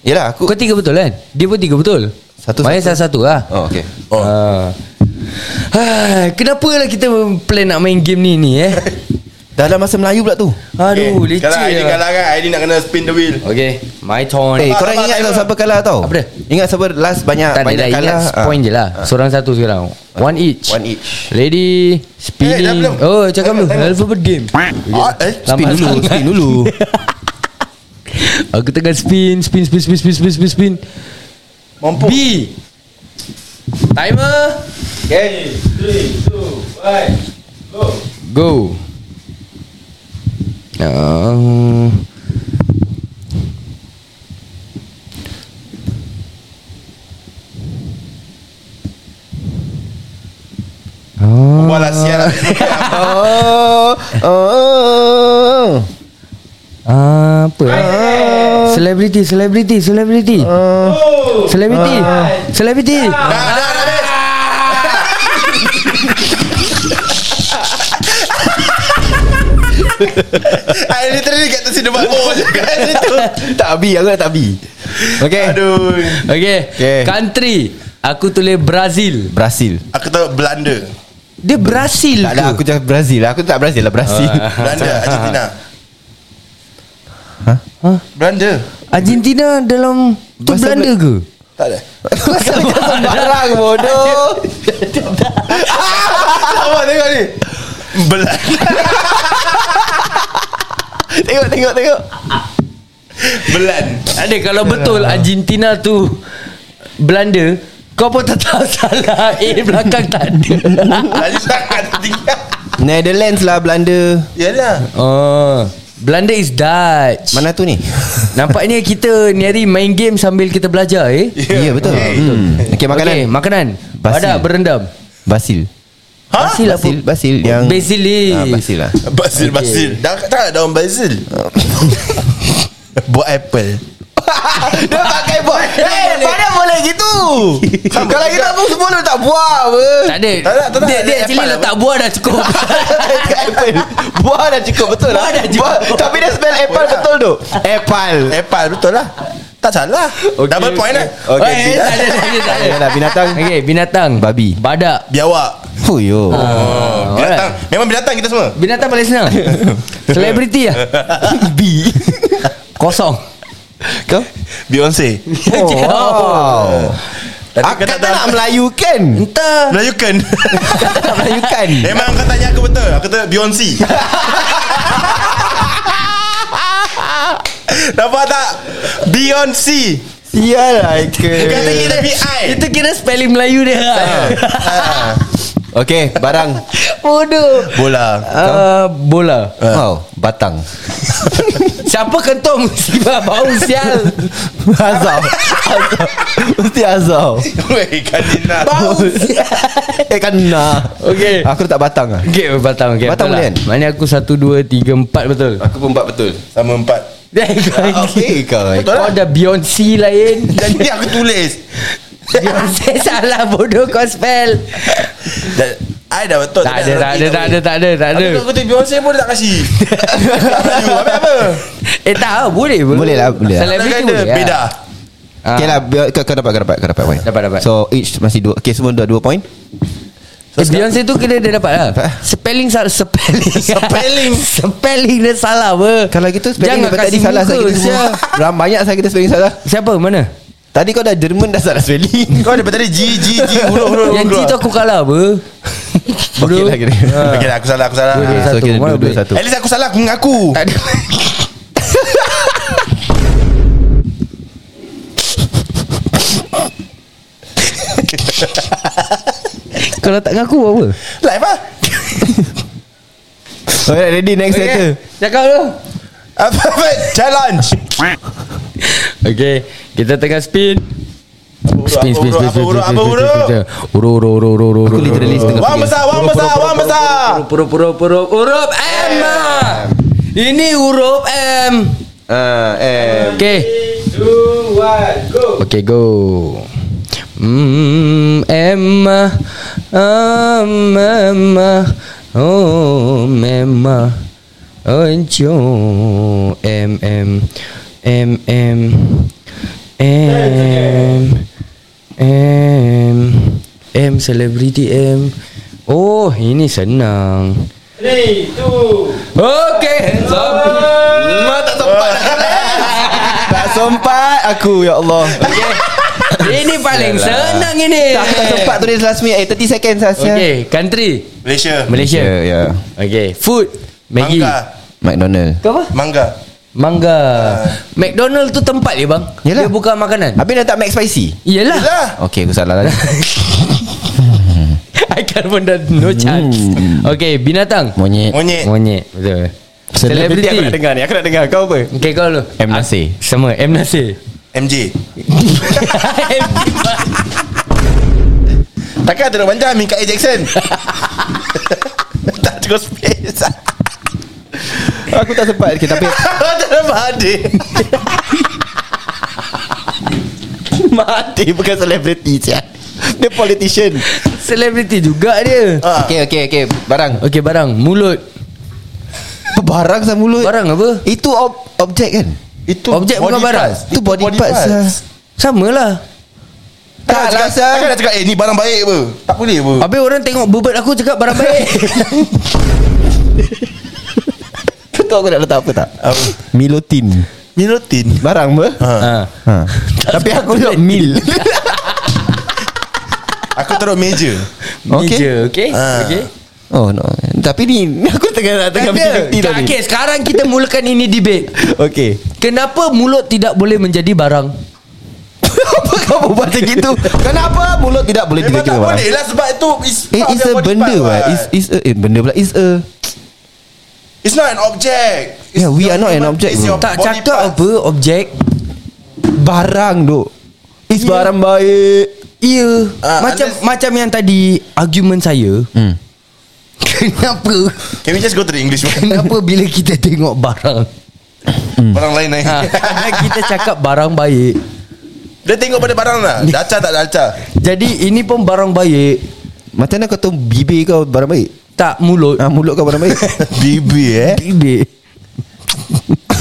[SPEAKER 2] Yelah aku
[SPEAKER 3] Kau tiga betul kan? Dia pun tiga betul
[SPEAKER 2] Satu,
[SPEAKER 3] Maya
[SPEAKER 2] satu.
[SPEAKER 3] salah satu lah
[SPEAKER 2] Oh okay
[SPEAKER 4] Oh.
[SPEAKER 3] Ah. Ah, kenapa lah kita plan nak main game ni ni eh?
[SPEAKER 2] Dalam masa Melayu pula tu
[SPEAKER 3] Aduh, okay. leceh
[SPEAKER 4] Kalau Aidin
[SPEAKER 3] lah.
[SPEAKER 4] kalah kan Aidin nak kena spin the wheel
[SPEAKER 3] Okay, my turn.
[SPEAKER 2] Eh
[SPEAKER 4] Sabar,
[SPEAKER 2] korang
[SPEAKER 4] sabar,
[SPEAKER 2] ingat
[SPEAKER 4] sabar.
[SPEAKER 2] tak siapa kalah tau
[SPEAKER 3] Apa dia?
[SPEAKER 2] Ingat siapa last banyak
[SPEAKER 3] tak ada
[SPEAKER 2] Banyak
[SPEAKER 3] dah
[SPEAKER 2] kalah
[SPEAKER 3] ingat
[SPEAKER 2] Ah.
[SPEAKER 3] point je lah. Seorang satu sekarang. One each.
[SPEAKER 2] One each.
[SPEAKER 3] Lady
[SPEAKER 4] Ah. Eh, dah
[SPEAKER 3] spinning.
[SPEAKER 4] belum?
[SPEAKER 3] oh, cakap
[SPEAKER 4] Tengok,
[SPEAKER 3] dulu.
[SPEAKER 4] tengok.
[SPEAKER 3] Alphabet game.
[SPEAKER 4] Ah, eh,
[SPEAKER 2] Spin
[SPEAKER 3] Lambat
[SPEAKER 2] dulu
[SPEAKER 3] sangat.
[SPEAKER 2] Spin dulu
[SPEAKER 3] Aku tengah Ah, spin, spin, spin, spin, spin, spin, spin, spin.
[SPEAKER 4] Mampu
[SPEAKER 3] B. Timer.
[SPEAKER 2] Okay
[SPEAKER 3] Go. Uh,
[SPEAKER 4] Buat lah sial
[SPEAKER 2] Oh Oh
[SPEAKER 3] apa? Celebrity, celebrity, celebrity. Celebrity. Celebrity.
[SPEAKER 4] I literally kat tersini debat Oh juga itu
[SPEAKER 2] Tak abi Aku nak tak abi Okay
[SPEAKER 4] Aduh
[SPEAKER 3] Okay.
[SPEAKER 2] Okay.
[SPEAKER 3] Country. Aku tulis Brazil.
[SPEAKER 2] Brazil
[SPEAKER 4] Aku tahu Belanda
[SPEAKER 3] Dia Brazil
[SPEAKER 2] Tak lah aku cakap Brazil lah Aku tak Brazil lah Brazil
[SPEAKER 4] Belanda Argentina Hah? Belanda
[SPEAKER 3] Argentina dalam tu
[SPEAKER 2] Bahasa
[SPEAKER 3] Belanda ke?
[SPEAKER 4] Tak ada
[SPEAKER 2] Sembarang bodoh
[SPEAKER 4] Awak tengok ni Belanda
[SPEAKER 2] Tengok tengok tengok
[SPEAKER 4] Belan
[SPEAKER 3] Ada kalau betul
[SPEAKER 2] Ya.
[SPEAKER 3] Argentina tu Belanda kau pun tetap salah Eh belakang tak ada
[SPEAKER 4] Lagi sangat tiga
[SPEAKER 2] Netherlands lah Belanda
[SPEAKER 4] Yalah
[SPEAKER 3] oh, Belanda is Dutch
[SPEAKER 2] Mana tu ni?
[SPEAKER 3] Nampaknya kita ni hari main game sambil kita belajar eh
[SPEAKER 2] Ya yeah, betul hmm. Okay makanan okay.
[SPEAKER 3] Okey, makanan
[SPEAKER 2] Basil.
[SPEAKER 3] Badak berendam
[SPEAKER 2] Basil
[SPEAKER 4] Ha?
[SPEAKER 3] Basil apa?
[SPEAKER 2] Basil Basil yang
[SPEAKER 3] Basil
[SPEAKER 2] ah, Basil lah
[SPEAKER 4] Basil Basil Dah tak ada daun basil Buat apple
[SPEAKER 2] Dia pakai buat Eh mana boleh gitu Kalau kita pun semua tak buat apa
[SPEAKER 3] Tak ada
[SPEAKER 4] Tak nak, tak nak.
[SPEAKER 3] Dia, dia
[SPEAKER 4] Ada
[SPEAKER 3] actually
[SPEAKER 4] apple
[SPEAKER 3] letak buah dah cukup
[SPEAKER 2] Apple Kan? Buah dah cukup betul lah
[SPEAKER 3] Buah dah cukup.
[SPEAKER 2] Buah- Tapi dia spell apple
[SPEAKER 4] Boleh
[SPEAKER 2] betul tu Apple
[SPEAKER 4] Apple betul lah Tak salah Double point lah
[SPEAKER 2] Okay
[SPEAKER 3] Eh, tak ada, tak ada, tak ada.
[SPEAKER 2] Yalah, binatang
[SPEAKER 3] Okay binatang
[SPEAKER 2] Babi.
[SPEAKER 3] Badak
[SPEAKER 4] Biawak
[SPEAKER 2] Fuyo
[SPEAKER 4] oh, Binatang Memang binatang kita semua
[SPEAKER 3] Binatang paling senang Selebriti lah B Kosong
[SPEAKER 2] Kau
[SPEAKER 4] Beyonce
[SPEAKER 2] Oh, wow.
[SPEAKER 4] Tadi
[SPEAKER 2] Aku
[SPEAKER 4] kau tak
[SPEAKER 2] kata nak
[SPEAKER 4] tahu.
[SPEAKER 2] melayukan
[SPEAKER 3] Entah
[SPEAKER 4] Melayukan
[SPEAKER 2] Tak melayukan
[SPEAKER 4] Memang kau tanya aku betul Aku kata Beyonce Nampak tak Beyonce
[SPEAKER 2] Sial lah
[SPEAKER 4] Kata
[SPEAKER 2] Ike
[SPEAKER 4] kita BI
[SPEAKER 3] Itu kira spelling Melayu dia lah
[SPEAKER 2] Okay barang
[SPEAKER 3] Bodoh
[SPEAKER 4] Bola
[SPEAKER 3] uh, Bola
[SPEAKER 2] Oh Batang
[SPEAKER 3] Siapa kentung Siapa bau sial
[SPEAKER 2] Azau Azau Mesti azau
[SPEAKER 4] Weh kan Kadina
[SPEAKER 3] Bau sial
[SPEAKER 2] Eh kena
[SPEAKER 3] Okay.
[SPEAKER 2] Aku tak batang lah
[SPEAKER 3] Okay batang okay,
[SPEAKER 2] Batang
[SPEAKER 3] betul
[SPEAKER 2] boleh
[SPEAKER 3] lah.
[SPEAKER 2] kan?
[SPEAKER 3] Maknanya aku satu dua tiga empat betul
[SPEAKER 2] Aku pun empat betul
[SPEAKER 4] Sama empat
[SPEAKER 2] Okay
[SPEAKER 3] Okay
[SPEAKER 2] kau
[SPEAKER 4] Betul
[SPEAKER 3] Kau
[SPEAKER 4] lah.
[SPEAKER 3] dah Beyonce lain
[SPEAKER 4] Jadi aku tulis
[SPEAKER 3] Beyonce salah bodoh kau spell
[SPEAKER 4] Dan I dah betul
[SPEAKER 3] Tak ada tak ada tak ada tak ada tak ada
[SPEAKER 4] Aku kutip Beyonce pun dia tak kasi Melayu Habis apa
[SPEAKER 3] Eh tak boleh
[SPEAKER 2] Boleh lah, boleh lah.
[SPEAKER 3] Celebrity
[SPEAKER 4] Kan
[SPEAKER 3] boleh
[SPEAKER 4] dia
[SPEAKER 3] lah.
[SPEAKER 4] Beda
[SPEAKER 3] Ah.
[SPEAKER 2] Okay lah biar- kau, kau dapat Kau dapat Kau dapat point
[SPEAKER 3] Dapat, dapat.
[SPEAKER 2] So each masih dua Okay semua dua, dua point
[SPEAKER 3] Eh, Beyonce tu kena dia dapat lah Spelling salah Spelling
[SPEAKER 4] Spelling.
[SPEAKER 3] Spelling dia salah apa
[SPEAKER 2] Kalau gitu spelling
[SPEAKER 3] Jangan
[SPEAKER 2] daripada
[SPEAKER 3] kasi
[SPEAKER 2] tadi salah
[SPEAKER 3] muka
[SPEAKER 2] saya kita semua
[SPEAKER 3] sial.
[SPEAKER 2] Ram banyak saya kita spelling salah
[SPEAKER 3] Siapa mana
[SPEAKER 2] Tadi kau dah Jerman dah salah spelling
[SPEAKER 4] Kau daripada tadi G G G Huruf
[SPEAKER 2] Oh,
[SPEAKER 4] huruf
[SPEAKER 3] Yang G tu aku kalah apa
[SPEAKER 2] Okay lah kira
[SPEAKER 4] Okay lah aku salah aku salah
[SPEAKER 3] Dua-dua
[SPEAKER 2] So
[SPEAKER 3] Ah, satu,
[SPEAKER 2] kira
[SPEAKER 3] mana
[SPEAKER 2] dua, dua
[SPEAKER 3] boleh?
[SPEAKER 2] satu
[SPEAKER 4] At least aku salah Aku mengaku
[SPEAKER 3] Tak ada Kalau tak ngaku buat apa
[SPEAKER 4] Live lah
[SPEAKER 2] Alright ready next
[SPEAKER 3] Okay,
[SPEAKER 2] letter
[SPEAKER 3] Cakap dulu
[SPEAKER 4] Alphabet challenge
[SPEAKER 3] Okay Kita tengah spin Spin spin spin
[SPEAKER 4] Apa
[SPEAKER 3] spin spin
[SPEAKER 4] huruf, apa
[SPEAKER 3] spin
[SPEAKER 4] huruf, apa
[SPEAKER 3] spin Uru uru uru uru uru
[SPEAKER 2] Aku literally setengah
[SPEAKER 4] Wang
[SPEAKER 2] fikir
[SPEAKER 4] besar Wang besar Wang besar
[SPEAKER 3] Huruf huruf huruf huruf M ah. Ini huruf M
[SPEAKER 2] Ah, eh
[SPEAKER 3] Okay Okay go Mm, Emma Um, Emma Oh, Emma Encho M, M M, M M M M, selebriti M Oh, ini senang 3, 2 Okay, hands up Mak tak sempat
[SPEAKER 2] Tak sempat aku ya Allah
[SPEAKER 3] Ini paling senang ini
[SPEAKER 2] Tak, aku tak sempat tulis last minute Eh 30 second Sasya
[SPEAKER 3] Okay Country
[SPEAKER 4] Malaysia
[SPEAKER 2] Ya
[SPEAKER 3] Malaysia
[SPEAKER 2] ya
[SPEAKER 3] Okay Food Maggi
[SPEAKER 4] Mangga
[SPEAKER 2] McDonald
[SPEAKER 3] Kau apa?
[SPEAKER 4] Mangga
[SPEAKER 3] Mangga
[SPEAKER 2] Ah.
[SPEAKER 3] McDonald tu tempat dia bang
[SPEAKER 2] Yelah.
[SPEAKER 3] Dia bukan makanan
[SPEAKER 2] Habis dah tak Mac Spicy
[SPEAKER 3] Yelah
[SPEAKER 4] Lah
[SPEAKER 2] Okay aku salah lagi
[SPEAKER 3] I can't pun dah No chance Okay Binatang
[SPEAKER 2] Hmm. Monyet
[SPEAKER 4] Monyet
[SPEAKER 3] Monyet Betul Celebrity
[SPEAKER 2] Aku nak dengar ni Aku nak dengar Kau apa?
[SPEAKER 3] Okay kau dulu
[SPEAKER 2] M. Nasir.
[SPEAKER 3] Ah, Sama M Nasir
[SPEAKER 4] MJ
[SPEAKER 3] M.
[SPEAKER 4] Takkan ada orang panjang Minka A. Jackson Tak cukup space
[SPEAKER 2] Aku tak sempat okay, Tapi
[SPEAKER 4] Tak ada mati
[SPEAKER 2] Mati bukan selebriti sia. Dia politician
[SPEAKER 3] Celebrity juga dia
[SPEAKER 4] Ah.
[SPEAKER 2] Okay okay okay Barang
[SPEAKER 3] Okay barang Mulut
[SPEAKER 2] Apa Barang sama mulut
[SPEAKER 3] Barang apa?
[SPEAKER 2] Itu ob- objek kan?
[SPEAKER 4] Itu
[SPEAKER 3] Objek bukan
[SPEAKER 4] body
[SPEAKER 3] barang.
[SPEAKER 4] parts.
[SPEAKER 2] Itu body parts, ah.
[SPEAKER 3] Sama lah
[SPEAKER 4] Takkan
[SPEAKER 2] Tak
[SPEAKER 4] nak
[SPEAKER 2] lah
[SPEAKER 4] cakap-
[SPEAKER 2] Sah.
[SPEAKER 4] Takkan nak cakap Eh ni barang baik apa Tak boleh apa
[SPEAKER 3] Habis orang tengok bebat aku cakap barang baik
[SPEAKER 2] Kau tahu aku nak letak apa tak? Milotin
[SPEAKER 4] Milotin
[SPEAKER 2] Barang apa?
[SPEAKER 3] ha.
[SPEAKER 2] Ha. Tapi aku nak mil
[SPEAKER 4] Aku taruh meja
[SPEAKER 3] Okay
[SPEAKER 2] Okay.
[SPEAKER 3] Meja Okay,
[SPEAKER 4] Ah.
[SPEAKER 3] okay.
[SPEAKER 2] Ha. Oh no Tapi ni ni Aku tengah tengah
[SPEAKER 3] Ada.
[SPEAKER 2] milotin tau
[SPEAKER 3] Tak,
[SPEAKER 2] ni
[SPEAKER 3] okay, sekarang kita mulakan ini debate.
[SPEAKER 2] Okay
[SPEAKER 3] Kenapa mulut tidak boleh menjadi barang?
[SPEAKER 2] Apa kau buat macam gitu? Kenapa mulut tidak Eh, boleh
[SPEAKER 4] Memang
[SPEAKER 2] dikira
[SPEAKER 4] tak
[SPEAKER 2] barang?
[SPEAKER 4] boleh lah Sebab itu It's,
[SPEAKER 2] Eh,
[SPEAKER 4] part
[SPEAKER 2] it's
[SPEAKER 4] of
[SPEAKER 2] a
[SPEAKER 4] your body
[SPEAKER 2] benda
[SPEAKER 4] part,
[SPEAKER 2] lah.
[SPEAKER 4] what.
[SPEAKER 2] It's, it's a eh, benda pula. It's a
[SPEAKER 4] It's not an object It's
[SPEAKER 2] Yeah, we
[SPEAKER 4] your
[SPEAKER 2] are not an
[SPEAKER 4] human-
[SPEAKER 2] object,
[SPEAKER 4] It's
[SPEAKER 2] bro.
[SPEAKER 4] your
[SPEAKER 3] Tak
[SPEAKER 4] body
[SPEAKER 3] cakap
[SPEAKER 4] parts.
[SPEAKER 3] apa objek.
[SPEAKER 2] barang duk. It's yeah. barang baik.
[SPEAKER 3] Ya,
[SPEAKER 4] Ah,
[SPEAKER 3] macam
[SPEAKER 4] unless-
[SPEAKER 3] macam yang tadi argument saya.
[SPEAKER 2] Hmm.
[SPEAKER 3] Kenapa?
[SPEAKER 4] Can we just go to the English one
[SPEAKER 3] Kenapa bila kita tengok barang?
[SPEAKER 2] Hmm.
[SPEAKER 4] Barang lain lain
[SPEAKER 3] Ha, kerana kita cakap barang baik.
[SPEAKER 4] Dia tengok pada barang lah Daca tak daca
[SPEAKER 3] Jadi ini pun barang baik.
[SPEAKER 2] Macam mana kau tahu bibir kau barang baik?
[SPEAKER 3] Tak mulut.
[SPEAKER 2] Ah, mulut kau barang baik.
[SPEAKER 4] Bibir eh
[SPEAKER 3] Bibir.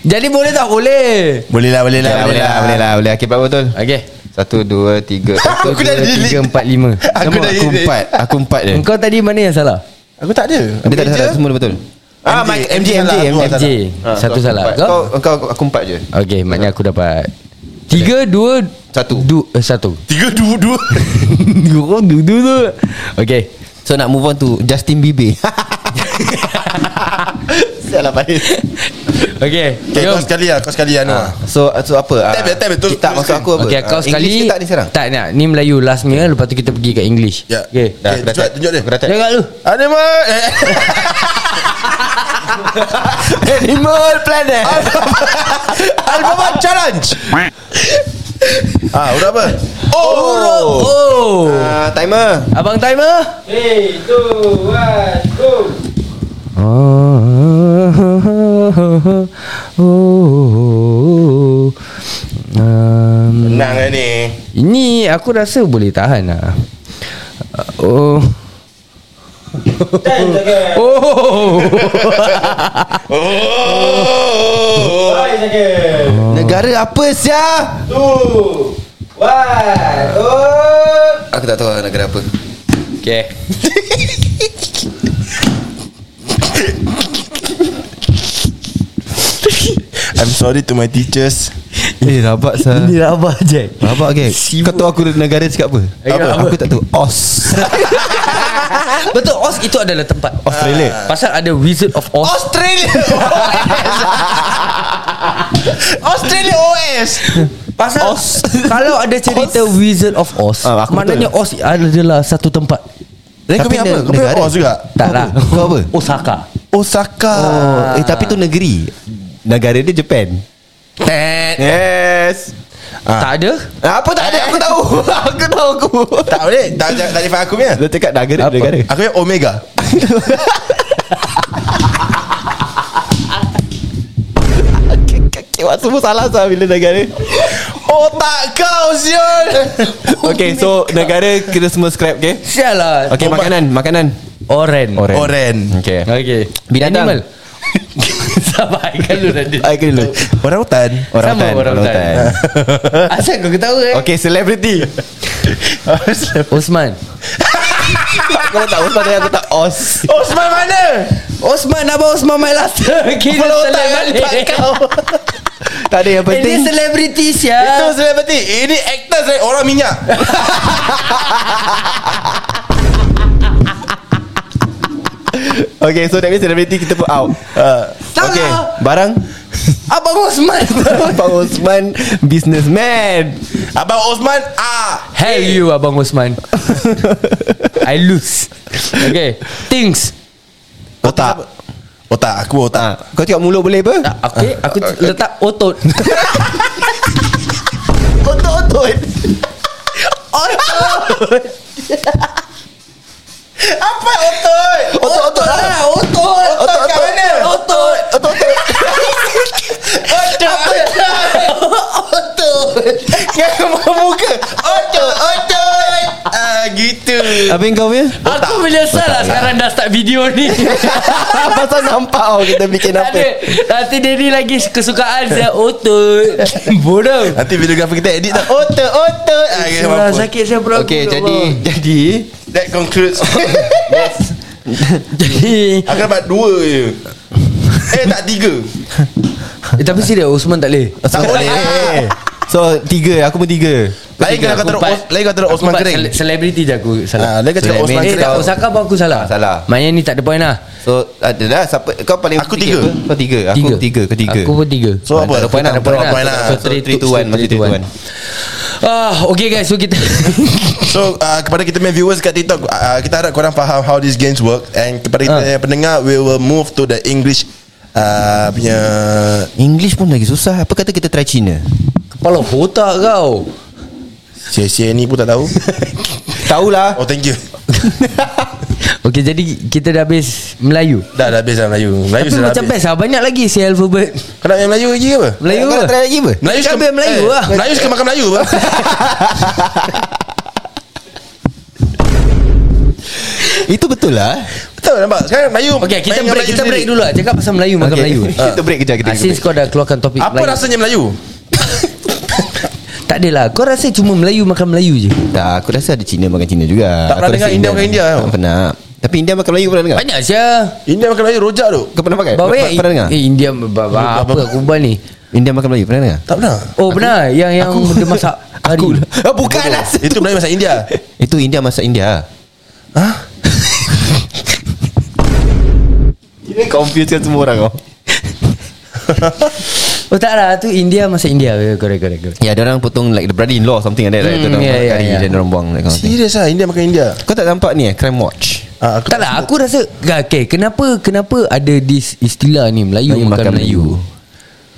[SPEAKER 3] Jadi boleh tak boleh?
[SPEAKER 4] Boleh lah boleh lah
[SPEAKER 2] boleh lah, boleh lah, boleh. Okey, berapa betul?
[SPEAKER 3] Okay.
[SPEAKER 2] Satu, dua, tiga.
[SPEAKER 4] Aku
[SPEAKER 3] Satu,
[SPEAKER 4] dah
[SPEAKER 3] dua,
[SPEAKER 4] delete.
[SPEAKER 3] tiga, empat, lima.
[SPEAKER 4] Aku
[SPEAKER 2] Aku,
[SPEAKER 4] dah
[SPEAKER 2] aku
[SPEAKER 4] edit.
[SPEAKER 2] empat. Aku empat je.
[SPEAKER 3] Engkau tadi mana yang salah?
[SPEAKER 4] Aku tak ada
[SPEAKER 2] Dia tak ada
[SPEAKER 4] Meja.
[SPEAKER 2] salah semua dah betul.
[SPEAKER 4] Ah, Mike, MJ, MJ, MJ.
[SPEAKER 3] MJ.
[SPEAKER 2] Ah,
[SPEAKER 3] Satu
[SPEAKER 2] aku
[SPEAKER 3] salah.
[SPEAKER 2] empat.
[SPEAKER 3] Kau?
[SPEAKER 2] Kau, kau, aku empat je.
[SPEAKER 3] Okey, maknanya aku dapat Tiga, dua
[SPEAKER 2] Satu.
[SPEAKER 3] du, eh, Satu
[SPEAKER 4] Tiga dua dua
[SPEAKER 3] Kau du, du, du. Okey
[SPEAKER 2] So nak move on to Justin Bieber. Salah baik.
[SPEAKER 3] Okey
[SPEAKER 4] Okay kau sekali lah Kau sekali lah Noah
[SPEAKER 2] So so apa? Ah,
[SPEAKER 4] Tap je, tap je, terus-
[SPEAKER 2] Tak maksud aku apa?
[SPEAKER 4] teruskan.
[SPEAKER 3] Okey, kau
[SPEAKER 2] Ah, English
[SPEAKER 3] sekali
[SPEAKER 2] ke tak ni sekarang?
[SPEAKER 3] Tak nak Ni Melayu lastnya Lepas tu kita pergi kat English
[SPEAKER 4] Ya
[SPEAKER 3] Okey
[SPEAKER 4] Okay,
[SPEAKER 2] dah
[SPEAKER 4] tunjuk,
[SPEAKER 2] tap.
[SPEAKER 4] tunjuk dia
[SPEAKER 2] Aku dah tap.
[SPEAKER 3] Jangan lu
[SPEAKER 4] Animal eh,
[SPEAKER 2] Animal Eh, Planet.
[SPEAKER 4] Alphabet Challenge Ah huruf apa? Huruf
[SPEAKER 3] Oh
[SPEAKER 2] Ah, timer.
[SPEAKER 3] Abang timer 3, 2, 1, go Oh, Um,
[SPEAKER 4] Tenang lah ni
[SPEAKER 3] Ini aku rasa boleh tahan lah Oh Oh
[SPEAKER 4] Oh
[SPEAKER 2] Negara apa sia? Tu. Wah. Oh. Aku tak tahu negara apa.
[SPEAKER 3] Okay
[SPEAKER 4] I'm sorry to my teachers
[SPEAKER 2] Eh, rabak sah.
[SPEAKER 3] Ini rabak je
[SPEAKER 2] Rabak ke? Kau tahu aku negara cakap apa?
[SPEAKER 3] Eh, apa?
[SPEAKER 2] Aku tak tahu. Os.
[SPEAKER 3] Betul Oz itu adalah tempat
[SPEAKER 2] Australia.
[SPEAKER 3] Pasal ada Wizard of Oz
[SPEAKER 4] Australia Australia OS
[SPEAKER 3] Pasal Oz. Kalau ada cerita Wizard of Oz
[SPEAKER 2] Ah, aku
[SPEAKER 3] Maknanya Oz adalah satu tempat
[SPEAKER 4] Then kau
[SPEAKER 2] Tapi
[SPEAKER 4] punya apa?
[SPEAKER 2] ne-
[SPEAKER 4] Kau punya
[SPEAKER 2] negara.
[SPEAKER 4] OS juga?
[SPEAKER 3] Tak lah
[SPEAKER 2] Kau apa?
[SPEAKER 3] Osaka
[SPEAKER 4] Osaka
[SPEAKER 2] Oh, eh tapi tu negeri. Negara dia Japan.
[SPEAKER 4] Tet.
[SPEAKER 2] Yes
[SPEAKER 3] Tak ada
[SPEAKER 2] Apa tak ada Aku tahu Aku tahu aku
[SPEAKER 4] Tak boleh Tak tak tak faham aku punya
[SPEAKER 2] Dia cakap dah gerik
[SPEAKER 3] Apa?
[SPEAKER 2] Dia gerik
[SPEAKER 4] Aku punya Omega
[SPEAKER 2] Kewak semua salah sah Bila negara
[SPEAKER 4] Otak kau Zion
[SPEAKER 2] Okay so Negara kita semua scrap okay
[SPEAKER 3] Sial lah
[SPEAKER 2] Okay makanan Makanan
[SPEAKER 3] Oren
[SPEAKER 2] Oren.
[SPEAKER 4] Oren
[SPEAKER 2] Okay
[SPEAKER 3] Okay
[SPEAKER 2] Binatang.
[SPEAKER 3] Animal Sabar kan lu tadi
[SPEAKER 2] Aku dulu
[SPEAKER 4] Orang hutan
[SPEAKER 2] Orang
[SPEAKER 3] Sama
[SPEAKER 2] hutan
[SPEAKER 3] orang hutan Asal kau tahu eh
[SPEAKER 2] Okay celebrity
[SPEAKER 3] Osman
[SPEAKER 2] Kau tak usah tanya Aku tak os
[SPEAKER 4] Osman mana
[SPEAKER 3] Osman Abang Osman My last kan, Kira
[SPEAKER 4] Follow
[SPEAKER 3] seleb
[SPEAKER 4] tangan
[SPEAKER 3] balik
[SPEAKER 4] tak kau
[SPEAKER 2] Tak ada yang
[SPEAKER 3] Eh dia
[SPEAKER 2] penting
[SPEAKER 3] selebriti
[SPEAKER 4] Itu
[SPEAKER 3] sial
[SPEAKER 4] selebriti Ini actor saya Orang minyak
[SPEAKER 2] Okay so that means celebrity Kita put out Uh,
[SPEAKER 4] Ah.
[SPEAKER 3] Salah.
[SPEAKER 2] Okay Barang
[SPEAKER 3] Abang Osman
[SPEAKER 2] Pak Osman Businessman
[SPEAKER 4] Abang Osman Ah
[SPEAKER 3] Hell you Abang Osman I lose Okay Things
[SPEAKER 2] Otak
[SPEAKER 4] Otak Aku
[SPEAKER 2] Ah,
[SPEAKER 4] otak
[SPEAKER 2] Kau tengok mulut boleh
[SPEAKER 4] Ah.
[SPEAKER 2] apa?
[SPEAKER 3] Okay Aku letak otot
[SPEAKER 2] Otot-otot
[SPEAKER 4] Apa otot
[SPEAKER 2] Otot-otot lah
[SPEAKER 3] Otot
[SPEAKER 4] Otot kat mana
[SPEAKER 3] Otot
[SPEAKER 2] Otot-otot
[SPEAKER 4] Yang muka Otot Otot Ah gitu
[SPEAKER 2] Apa yang kau punya?
[SPEAKER 3] Aku menyesal lah Sekarang dah start video ni
[SPEAKER 2] Pasal nampak oh, Kita bikin
[SPEAKER 3] Tak
[SPEAKER 2] apa
[SPEAKER 3] ada Nanti dia ni lagi Kesukaan saya Otot Bodoh
[SPEAKER 4] Nanti videografer kita edit tak
[SPEAKER 2] Otot-otot
[SPEAKER 4] Ah, okay,
[SPEAKER 3] Surah
[SPEAKER 4] mampus.
[SPEAKER 3] sakit saya perut
[SPEAKER 2] Okay
[SPEAKER 3] aku, ya
[SPEAKER 2] jadi
[SPEAKER 3] Allah.
[SPEAKER 2] Jadi
[SPEAKER 4] That concludes
[SPEAKER 3] Jadi
[SPEAKER 4] Aku dapat dua je Eh tak tiga
[SPEAKER 3] eh, Tapi serius Osman tak boleh
[SPEAKER 2] Tak boleh Eh, So tiga Aku pun tiga
[SPEAKER 4] Lain kalau kau terus Lain kau terus Osman kering
[SPEAKER 3] Selebriti je aku
[SPEAKER 4] Ah,
[SPEAKER 3] salah
[SPEAKER 4] Lain kau cakap
[SPEAKER 2] Selebriti
[SPEAKER 4] Osman
[SPEAKER 3] Eh
[SPEAKER 4] kering
[SPEAKER 3] tak Osaka pun aku salah
[SPEAKER 2] Salah.
[SPEAKER 3] Maknanya ni tak ada point lah
[SPEAKER 2] So adalah siapa kau paling
[SPEAKER 4] Aku
[SPEAKER 2] fikir
[SPEAKER 4] tiga.
[SPEAKER 2] apa? Kau tiga. Aku tiga. Kau tiga.
[SPEAKER 3] Aku pun tiga
[SPEAKER 4] So apa
[SPEAKER 2] Tak ada point lah,
[SPEAKER 4] Tak
[SPEAKER 2] tak
[SPEAKER 3] ada point
[SPEAKER 4] point
[SPEAKER 3] lah.
[SPEAKER 4] lah
[SPEAKER 2] So 3 to 1 Masih 3 to 1
[SPEAKER 3] Ah, Okay guys So kita
[SPEAKER 4] So uh, kepada kita punya viewers kat TikTok uh, Kita harap korang faham how these games work And kepada kita
[SPEAKER 3] Ah.
[SPEAKER 4] punya pendengar We will move to the English uh, Punya
[SPEAKER 2] English pun lagi susah Apa kata kita try Cina
[SPEAKER 3] Kepala otak kau
[SPEAKER 4] Sia-sia ni pun tak tahu
[SPEAKER 2] Tahulah
[SPEAKER 4] Oh thank you
[SPEAKER 3] Okay jadi Kita dah habis Melayu
[SPEAKER 4] Dah dah habis lah Melayu Melayu
[SPEAKER 3] Tapi
[SPEAKER 4] sudah
[SPEAKER 3] macam
[SPEAKER 4] habis
[SPEAKER 3] best lah Banyak lagi si alphabet
[SPEAKER 4] Kau nak main Melayu lagi ke apa?
[SPEAKER 3] Melayu
[SPEAKER 2] Kau nak
[SPEAKER 3] apa?
[SPEAKER 2] try lagi apa
[SPEAKER 4] Melayu eh,
[SPEAKER 3] Kau ambil Melayu lah.
[SPEAKER 4] Melayu suka makan Melayu apa?
[SPEAKER 2] Itu betul lah
[SPEAKER 4] Betul nampak Sekarang Melayu
[SPEAKER 3] Okay kita
[SPEAKER 4] main
[SPEAKER 3] break
[SPEAKER 4] dengan Melayu
[SPEAKER 3] Kita break
[SPEAKER 4] sendiri.
[SPEAKER 3] dulu lah Cakap pasal Melayu Makan
[SPEAKER 2] Okay.
[SPEAKER 3] Melayu
[SPEAKER 2] Kita break kejap, kita
[SPEAKER 3] Ah, Since kau dah keluarkan topik
[SPEAKER 4] Apa
[SPEAKER 3] Melayu.
[SPEAKER 4] rasanya Melayu?
[SPEAKER 3] Tak adalah Kau rasa cuma Melayu makan Melayu je
[SPEAKER 2] Tak aku rasa ada Cina makan Cina juga
[SPEAKER 4] Tak pernah
[SPEAKER 2] Aku rasa
[SPEAKER 4] dengar India makan India tau.
[SPEAKER 2] Tak pernah Tapi India makan Melayu pernah dengar
[SPEAKER 3] Banyak sia
[SPEAKER 4] India makan Melayu rojak tu
[SPEAKER 2] Kau pernah makan?
[SPEAKER 3] Bawa
[SPEAKER 2] Pernah pernah dengar?
[SPEAKER 3] Eh India ba- ba- Apa aku buat ni
[SPEAKER 2] India makan Melayu pernah dengar?
[SPEAKER 4] Tak pernah
[SPEAKER 3] Oh benar Yang yang dia masak Aku
[SPEAKER 2] Ah, Bukan lah
[SPEAKER 4] Itu Melayu masak India
[SPEAKER 2] Itu India masak India ah.
[SPEAKER 4] Hah?
[SPEAKER 2] Ini confuse kan semua orang kau
[SPEAKER 3] Oh tak lah Tu India masak India Yeah, Correct correct correct
[SPEAKER 2] Ya, orang potong like the brother-in-law something like that. right?
[SPEAKER 3] Hmm,
[SPEAKER 2] Dorang
[SPEAKER 3] yeah,
[SPEAKER 2] makan
[SPEAKER 3] yeah,
[SPEAKER 2] kari
[SPEAKER 3] yeah.
[SPEAKER 2] Dan orang buang that kind of thing.
[SPEAKER 4] Serius lah India makan India
[SPEAKER 2] Kau tak nampak ni eh, Crime Watch?
[SPEAKER 4] Ah, aku
[SPEAKER 3] tak lah aku rasa Okay kenapa Kenapa ada this istilah ni Melayu
[SPEAKER 2] Melayu
[SPEAKER 3] makan
[SPEAKER 2] makan
[SPEAKER 3] Melayu,